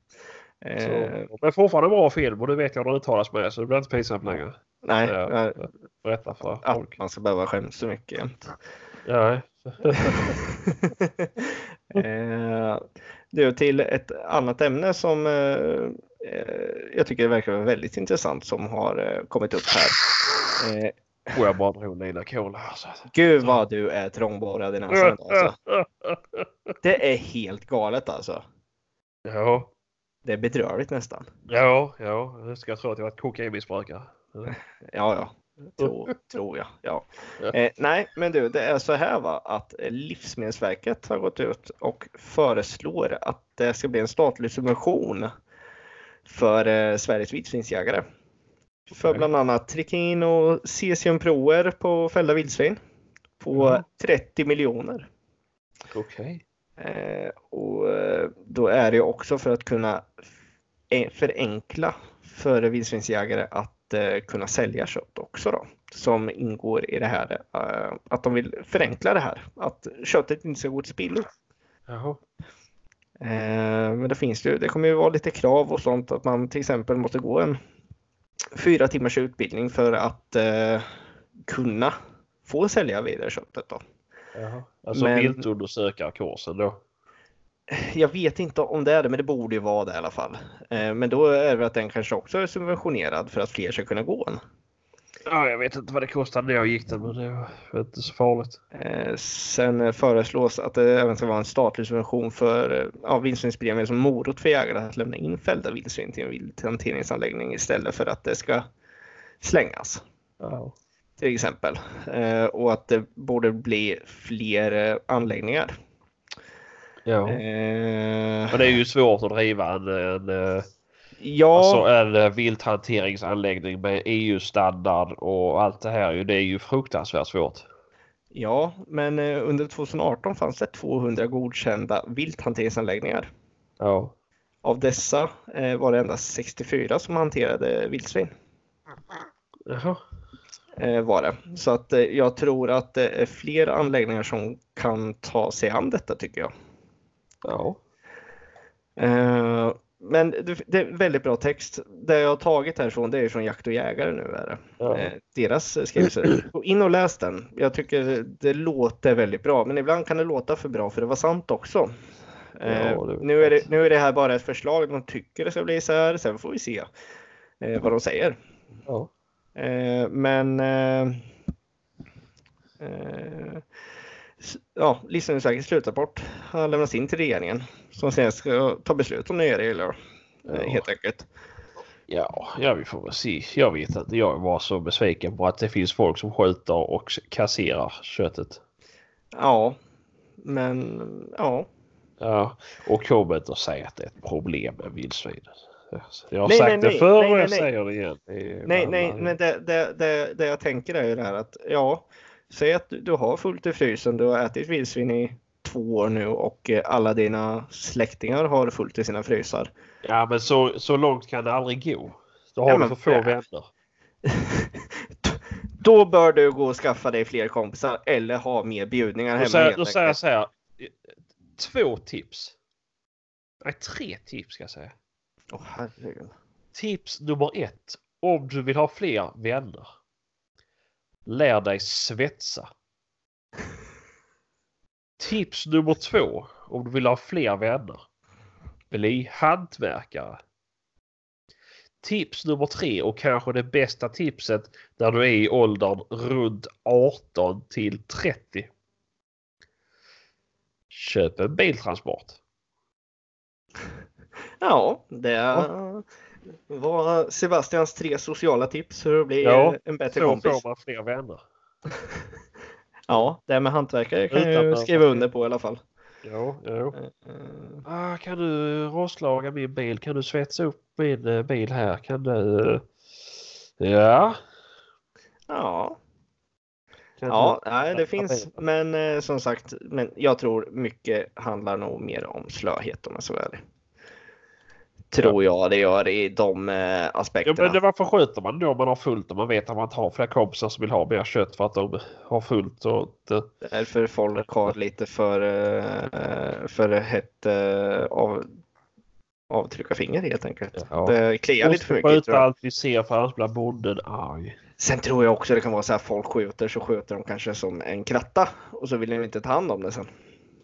Speaker 2: Så,
Speaker 1: Eh,
Speaker 2: men fortfarande bra film och det vet jag när det talas med det, så det blir inte pinsamt längre.
Speaker 1: nej,
Speaker 2: Ja.
Speaker 1: nej,
Speaker 2: Berätta för folk.
Speaker 1: att man ska behöva skämmas så mycket jämt. <laughs>
Speaker 2: Ja,
Speaker 1: eh, du, till ett annat ämne som eh, eh, jag tycker verkar vara väldigt intressant som har eh, kommit upp här. Eh,
Speaker 2: får Oh, jag bara drog Nina Cola alltså. här. Så. att-
Speaker 1: gud vad du är trångborrad i näsan idag, alltså. Det är helt galet alltså.
Speaker 2: Ja,
Speaker 1: Det är bedrövligt nästan.
Speaker 2: ja, ja. Nu ska jag tro att jag var ett kokainmissbrukare.
Speaker 1: Ja, ja. Tror, tror jag. Ja.
Speaker 2: Ja.
Speaker 1: Eh, nej, men du, det är så här va, att Livsmedelsverket har gått ut och föreslår att det ska bli en statlig subvention för eh, Sveriges vildsvinsjägare. För
Speaker 2: Okej.
Speaker 1: bland annat trikin och cesiumprover på fällda vildsvin på
Speaker 2: Mhm.
Speaker 1: 30 miljoner.
Speaker 2: Okej.
Speaker 1: Eh, och eh, då är det ju också för att kunna e- förenkla för vildsvinsjägare att eh, kunna sälja kött också då, som ingår i det här. Eh, att de vill förenkla det här, att köttet inte ska gå till spillo.
Speaker 2: Jaha.
Speaker 1: Eh, men det finns ju, det kommer ju vara lite krav och sånt att man till exempel måste gå en fyra timmars utbildning för att eh, kunna få sälja vidare köttet då.
Speaker 2: Jaha. Alltså
Speaker 1: Men-
Speaker 2: viltundersökarkursen då.
Speaker 1: Jag vet inte om det är det, men det borde ju vara det i alla fall. Eh, Men då är det väl att den kanske också är subventionerad för att fler ska kunna gå den.
Speaker 2: Ja, jag vet inte vad det kostade när jag gick den, men det var inte så farligt.
Speaker 1: Eh, Sen eh, föreslås att det även ska vara en statlig subvention för eh, ja, vildsvinspremier som morot för jägare att lämna in fällda vildsvin till en vilthanteringsanläggning istället för att det ska slängas
Speaker 2: Ja.
Speaker 1: till exempel. Eh, Och att det borde bli fler eh, anläggningar.
Speaker 2: ja.
Speaker 1: Eh,
Speaker 2: Men det är ju svårt att driva en, en, eh,
Speaker 1: Ja,
Speaker 2: alltså en eh, vilthanteringsanläggning med EU-standard och allt det här. ju. Det är ju fruktansvärt svårt.
Speaker 1: Ja, men eh, under 2018 fanns det 200 godkända vilthanteringsanläggningar.
Speaker 2: Ja.
Speaker 1: Av dessa eh, var det endast 64 som hanterade vildsvin.
Speaker 2: Jaha.
Speaker 1: Eh, var det. Så att eh, jag tror att det är fler anläggningar som kan ta sig an detta tycker jag.
Speaker 2: Ja.
Speaker 1: Eh, men det, det är väldigt bra text. Det jag har tagit härifrån det är från Jakt och jägare nu. Är det.
Speaker 2: Ja.
Speaker 1: eh, deras skrivelse. Gå in och läs den. Jag tycker det låter väldigt bra, men ibland kan det låta för bra för det var sant också. Eh,
Speaker 2: Ja, det är
Speaker 1: nu, är det,
Speaker 2: sant.
Speaker 1: nu är det här bara ett förslag, de tycker det ska bli så här, sen får vi se eh, vad de säger.
Speaker 2: Ja.
Speaker 1: Eh, men eh, eh, s- ja, Livsmedelsverkets slutrapport har lämnats in till regeringen som sen ska ta beslut om nya regler eh,
Speaker 2: Ja.
Speaker 1: helt enkelt.
Speaker 2: Ja, ja, vi får väl se. Jag vet att jag var så besviken på att det finns folk som skjuter och kasserar köttet.
Speaker 1: Ja, men ja.
Speaker 2: Ja, och kom inte och säg att det är ett problem med vildsvin. Alltså, Jag har
Speaker 1: Nej,
Speaker 2: sagt
Speaker 1: nej,
Speaker 2: det
Speaker 1: nej.
Speaker 2: förr
Speaker 1: Nej,
Speaker 2: och
Speaker 1: nej,
Speaker 2: jag
Speaker 1: nej.
Speaker 2: säger det igen. Det är-
Speaker 1: Nej,
Speaker 2: man-
Speaker 1: nej,
Speaker 2: man-
Speaker 1: men det, det, det, det jag tänker är ju det här att ja, säg att du, du har fullt i frysen, du har ätit vildsvin i två år nu och eh, alla dina släktingar har fullt i sina frysar. <laughs>
Speaker 2: Ja, men så, så långt kan det aldrig gå. Då har
Speaker 1: Ja,
Speaker 2: du
Speaker 1: men-
Speaker 2: för få
Speaker 1: ja.
Speaker 2: vänner.
Speaker 1: Då bör du gå och skaffa dig fler kompisar eller ha mer bjudningar
Speaker 2: Då
Speaker 1: hemma.
Speaker 2: säger,
Speaker 1: helt
Speaker 2: då säger jag
Speaker 1: enkelt.
Speaker 2: så här. Eh, Två tips. Nej, tre tips ska jag säga.
Speaker 1: Åh, herregud.
Speaker 2: Tips nummer ett. Om du vill ha fler vänner. Lär dig svetsa. Tips nummer två. Om du vill ha fler vänner. Bli hantverkare. Tips nummer tre och kanske det bästa tipset när du är i åldern runt 18 till 30. Köp en biltransport.
Speaker 1: Ja, det var Sebastians tre sociala tips hur att bli
Speaker 2: Ja,
Speaker 1: eh, en bättre
Speaker 2: Så
Speaker 1: kompis.
Speaker 2: får man fler vänner.
Speaker 1: Ja, det här med hantverkare kan
Speaker 2: Utan
Speaker 1: jag ju
Speaker 2: att-
Speaker 1: skriva under på i alla fall.
Speaker 2: Jo, jo.
Speaker 1: Eh,
Speaker 2: Ah, kan du rostlaga min bil? Kan du svetsa upp min eh, bil här? Kan du... eh, Ja.
Speaker 1: Ja,
Speaker 2: Kan
Speaker 1: ja nej, det
Speaker 2: Ja,
Speaker 1: finns. Men eh, som sagt, men jag tror mycket handlar nog mer om slöhet om jag ska vara ärlig. Tror jag det gör i de eh,
Speaker 2: Du... Ja, men det,
Speaker 1: aspekterna.
Speaker 2: varför skjuter man då om man har fullt och man vet att man inte har flera kompisar som vill ha mer kött för att de har fullt och inte...
Speaker 1: Därför folk har lite för, eh, för hett eh, av, avtrycka finger helt enkelt.
Speaker 2: Ja.
Speaker 1: Det kliar lite för mycket. tror
Speaker 2: skjuta
Speaker 1: jag.
Speaker 2: allt vi ser för annars blir bonden arg.
Speaker 1: Sen tror jag också det kan vara så här folk skjuter så skjuter de kanske som en kratta och så vill de inte ta hand om det sen.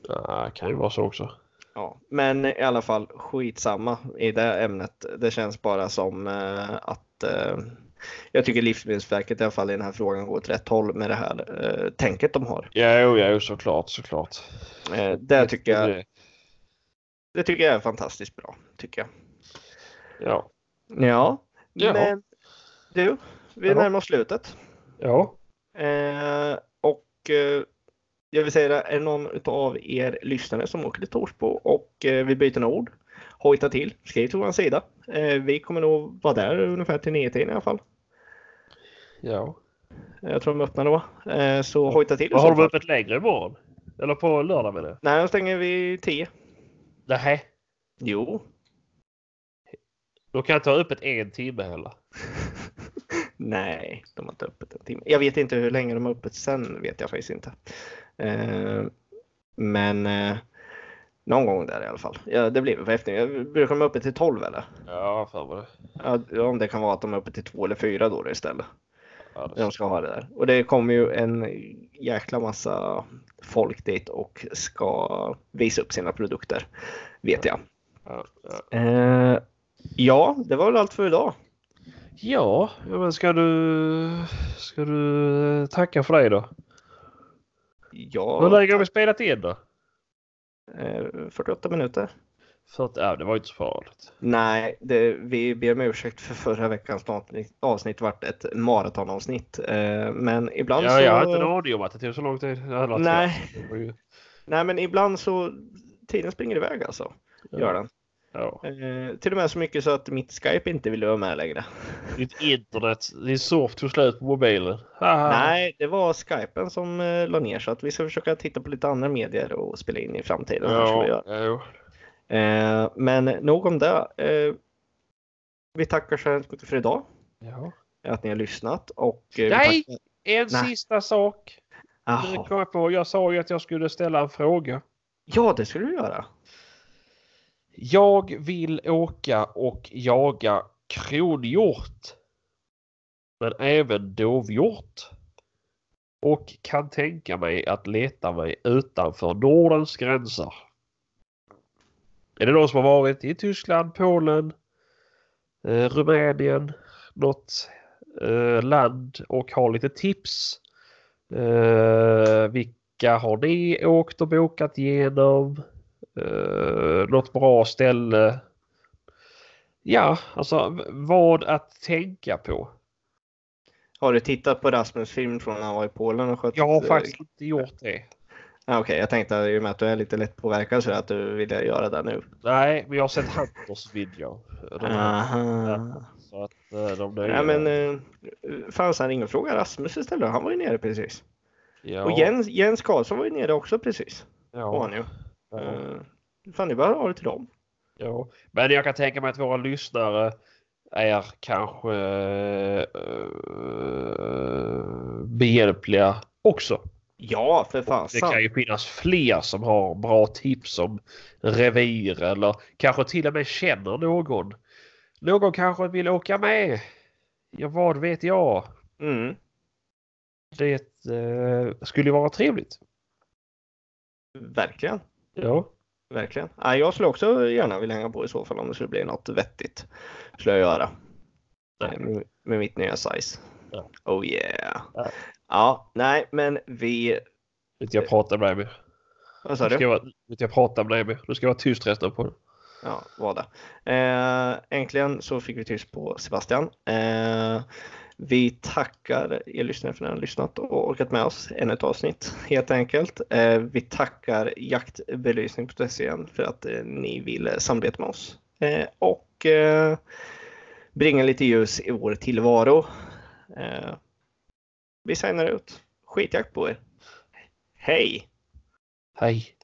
Speaker 2: Ja, Ah, kan ju vara så också.
Speaker 1: Ja, men i alla fall skitsamma i det ämnet. Det känns bara som eh, att eh, jag tycker Livsmedelsverket i alla fall i den här frågan går åt rätt håll med det här eh, tänket de har.
Speaker 2: Jo, jo, såklart, såklart.
Speaker 1: Eh, det, tycker jag,
Speaker 2: Det-
Speaker 1: det tycker jag är fantastiskt bra. Tycker jag.
Speaker 2: Ja.
Speaker 1: Ja,
Speaker 2: Ja.
Speaker 1: men du, vi
Speaker 2: Ja.
Speaker 1: närmar oss slutet.
Speaker 2: Ja.
Speaker 1: Eh, och eh, jag vill säga det, är det någon av er lyssnare som åker till Torsbo och eh, vill byta några ord, hojta till, skriv till vår sida. Eh, vi kommer nog vara där ungefär till 9 i alla fall.
Speaker 2: Ja.
Speaker 1: Eh, Jag tror de öppnar då. Eh, så hojta till. i
Speaker 2: Vad
Speaker 1: så
Speaker 2: har de
Speaker 1: fall.
Speaker 2: öppet längre imorgon? Eller på lördag menar jag?
Speaker 1: Nej, då stänger vi 10.
Speaker 2: Nej.
Speaker 1: Jo.
Speaker 2: Då kan jag ta öppet en timme heller.
Speaker 1: Nej, de har inte öppet en timme. Jag vet inte hur länge de har öppet sen, vet jag faktiskt inte. Eh, men eh, någon gång där i alla fall. Ja, det blir väl på eftermiddagen. Brukar de vara öppet till 12 eller?
Speaker 2: Ja, för vad det.
Speaker 1: Ja, om det kan vara att de är uppe till två eller fyra då istället.
Speaker 2: Ja, det-
Speaker 1: när De ska ha det där. Och det kommer ju en jäkla massa folk dit och ska visa upp sina produkter. Vet jag.
Speaker 2: ja, ja.
Speaker 1: Eh, ja, det var väl allt för idag.
Speaker 2: ja, ja, men ska du... Ska du eh, tacka för dig då? Hur
Speaker 1: Ja,
Speaker 2: länge har vi spelat in då?
Speaker 1: eh, 48 minuter.
Speaker 2: För att, ja, det var ju inte så farligt.
Speaker 1: Nej, det, vi ber om ursäkt för förra veckans avsnitt- avsnitt vart ett maratonavsnitt. Eh, men ibland
Speaker 2: Ja,
Speaker 1: så...
Speaker 2: jag har inte en aning om att det tog så lång tid. Jag hade
Speaker 1: Nej.
Speaker 2: haft- det var ju-
Speaker 1: Nej, men ibland så... Tiden springer iväg alltså. Gör den.
Speaker 2: Ja.
Speaker 1: Eh, till och med så mycket så att mitt Skype inte ville vara med längre.
Speaker 2: Ditt internet, din surf tog slut på mobilen. Haha.
Speaker 1: Nej, det var Skypen som eh, la ner så att vi ska försöka titta på lite andra medier och spela in i framtiden. här som vi
Speaker 2: Ja,
Speaker 1: gör.
Speaker 2: ja.
Speaker 1: Eh, men nog om det. Eh, vi tackar så hemskt mycket för idag,
Speaker 2: ja.
Speaker 1: att ni har lyssnat. Och, eh, vi
Speaker 2: Nej!
Speaker 1: tackar-
Speaker 2: En
Speaker 1: Nej.
Speaker 2: sista sak. Nu
Speaker 1: Jaha.
Speaker 2: kom jag på. Jag sa ju att jag skulle ställa en fråga.
Speaker 1: Ja, det skulle du göra.
Speaker 2: Jag vill åka och jaga kronhjort. Men även dovhjort. Och kan tänka mig att leta mig utanför Nordens gränser. Är det någon som har varit i Tyskland, Polen, eh, Rumänien, något eh, land och har lite tips? Eh, vilka har ni åkt och bokat genom? Uh, något bra ställe. Ja, alltså v- vad att tänka på.
Speaker 1: Har du tittat på Rasmus film från när han var i Polen och sköt?
Speaker 2: Jag har
Speaker 1: eh,
Speaker 2: faktiskt inte gjort det.
Speaker 1: ah, Okej, jag tänkte i och med att du är lite lättpåverkad så att du ville göra det nu.
Speaker 2: Nej, men jag har sett Hunters video. Eh, De här,
Speaker 1: Aha.
Speaker 2: så att eh, de nöjer
Speaker 1: Nej men,
Speaker 2: mig.
Speaker 1: eh, fanns han ingen fråga Rasmus istället? Han var ju nere precis.
Speaker 2: ja,
Speaker 1: Och Jens, Jens Karlsson var ju nere också precis. har han
Speaker 2: Ja.
Speaker 1: ju.
Speaker 2: ja.
Speaker 1: Eh, fan, det bör ha det till dem.
Speaker 2: Ja, men jag kan tänka mig att våra lyssnare är kanske eh, behjälpliga också.
Speaker 1: Ja, för
Speaker 2: Det
Speaker 1: fasen.
Speaker 2: kan ju finnas fler som har bra tips om revir eller kanske till och med känner någon. Någon kanske vill åka med. Ja, vad vet jag?
Speaker 1: Mm.
Speaker 2: Det eh, skulle ju vara trevligt.
Speaker 1: Verkligen.
Speaker 2: Ja,
Speaker 1: Verkligen. Ja, jag skulle också gärna vilja hänga på i så fall om det skulle bli något vettigt. Skulle jag göra. Eh,
Speaker 2: Nej.
Speaker 1: Med, med mitt nya size.
Speaker 2: Ja.
Speaker 1: Oh yeah.
Speaker 2: Ja.
Speaker 1: Ja. nej, men vi...
Speaker 2: vet jag pratar med dig.
Speaker 1: Vad sa
Speaker 2: Nu
Speaker 1: du?
Speaker 2: ska jag, vara- vet jag pratar med dig. Du ska jag vara tyst resten på
Speaker 1: Ja, var det. Eh, äntligen så fick vi tyst på Sebastian. Eh, vi tackar er lyssnare för att ni har lyssnat och orkat med oss ännu ett avsnitt helt enkelt. Eh, vi tackar jaktbelysning.se igen för att eh, ni vill samarbeta med oss eh, och eh, bringa lite ljus i vår tillvaro. Eh, vi signar ut. Skitjakt på er. Hej!
Speaker 2: Hej!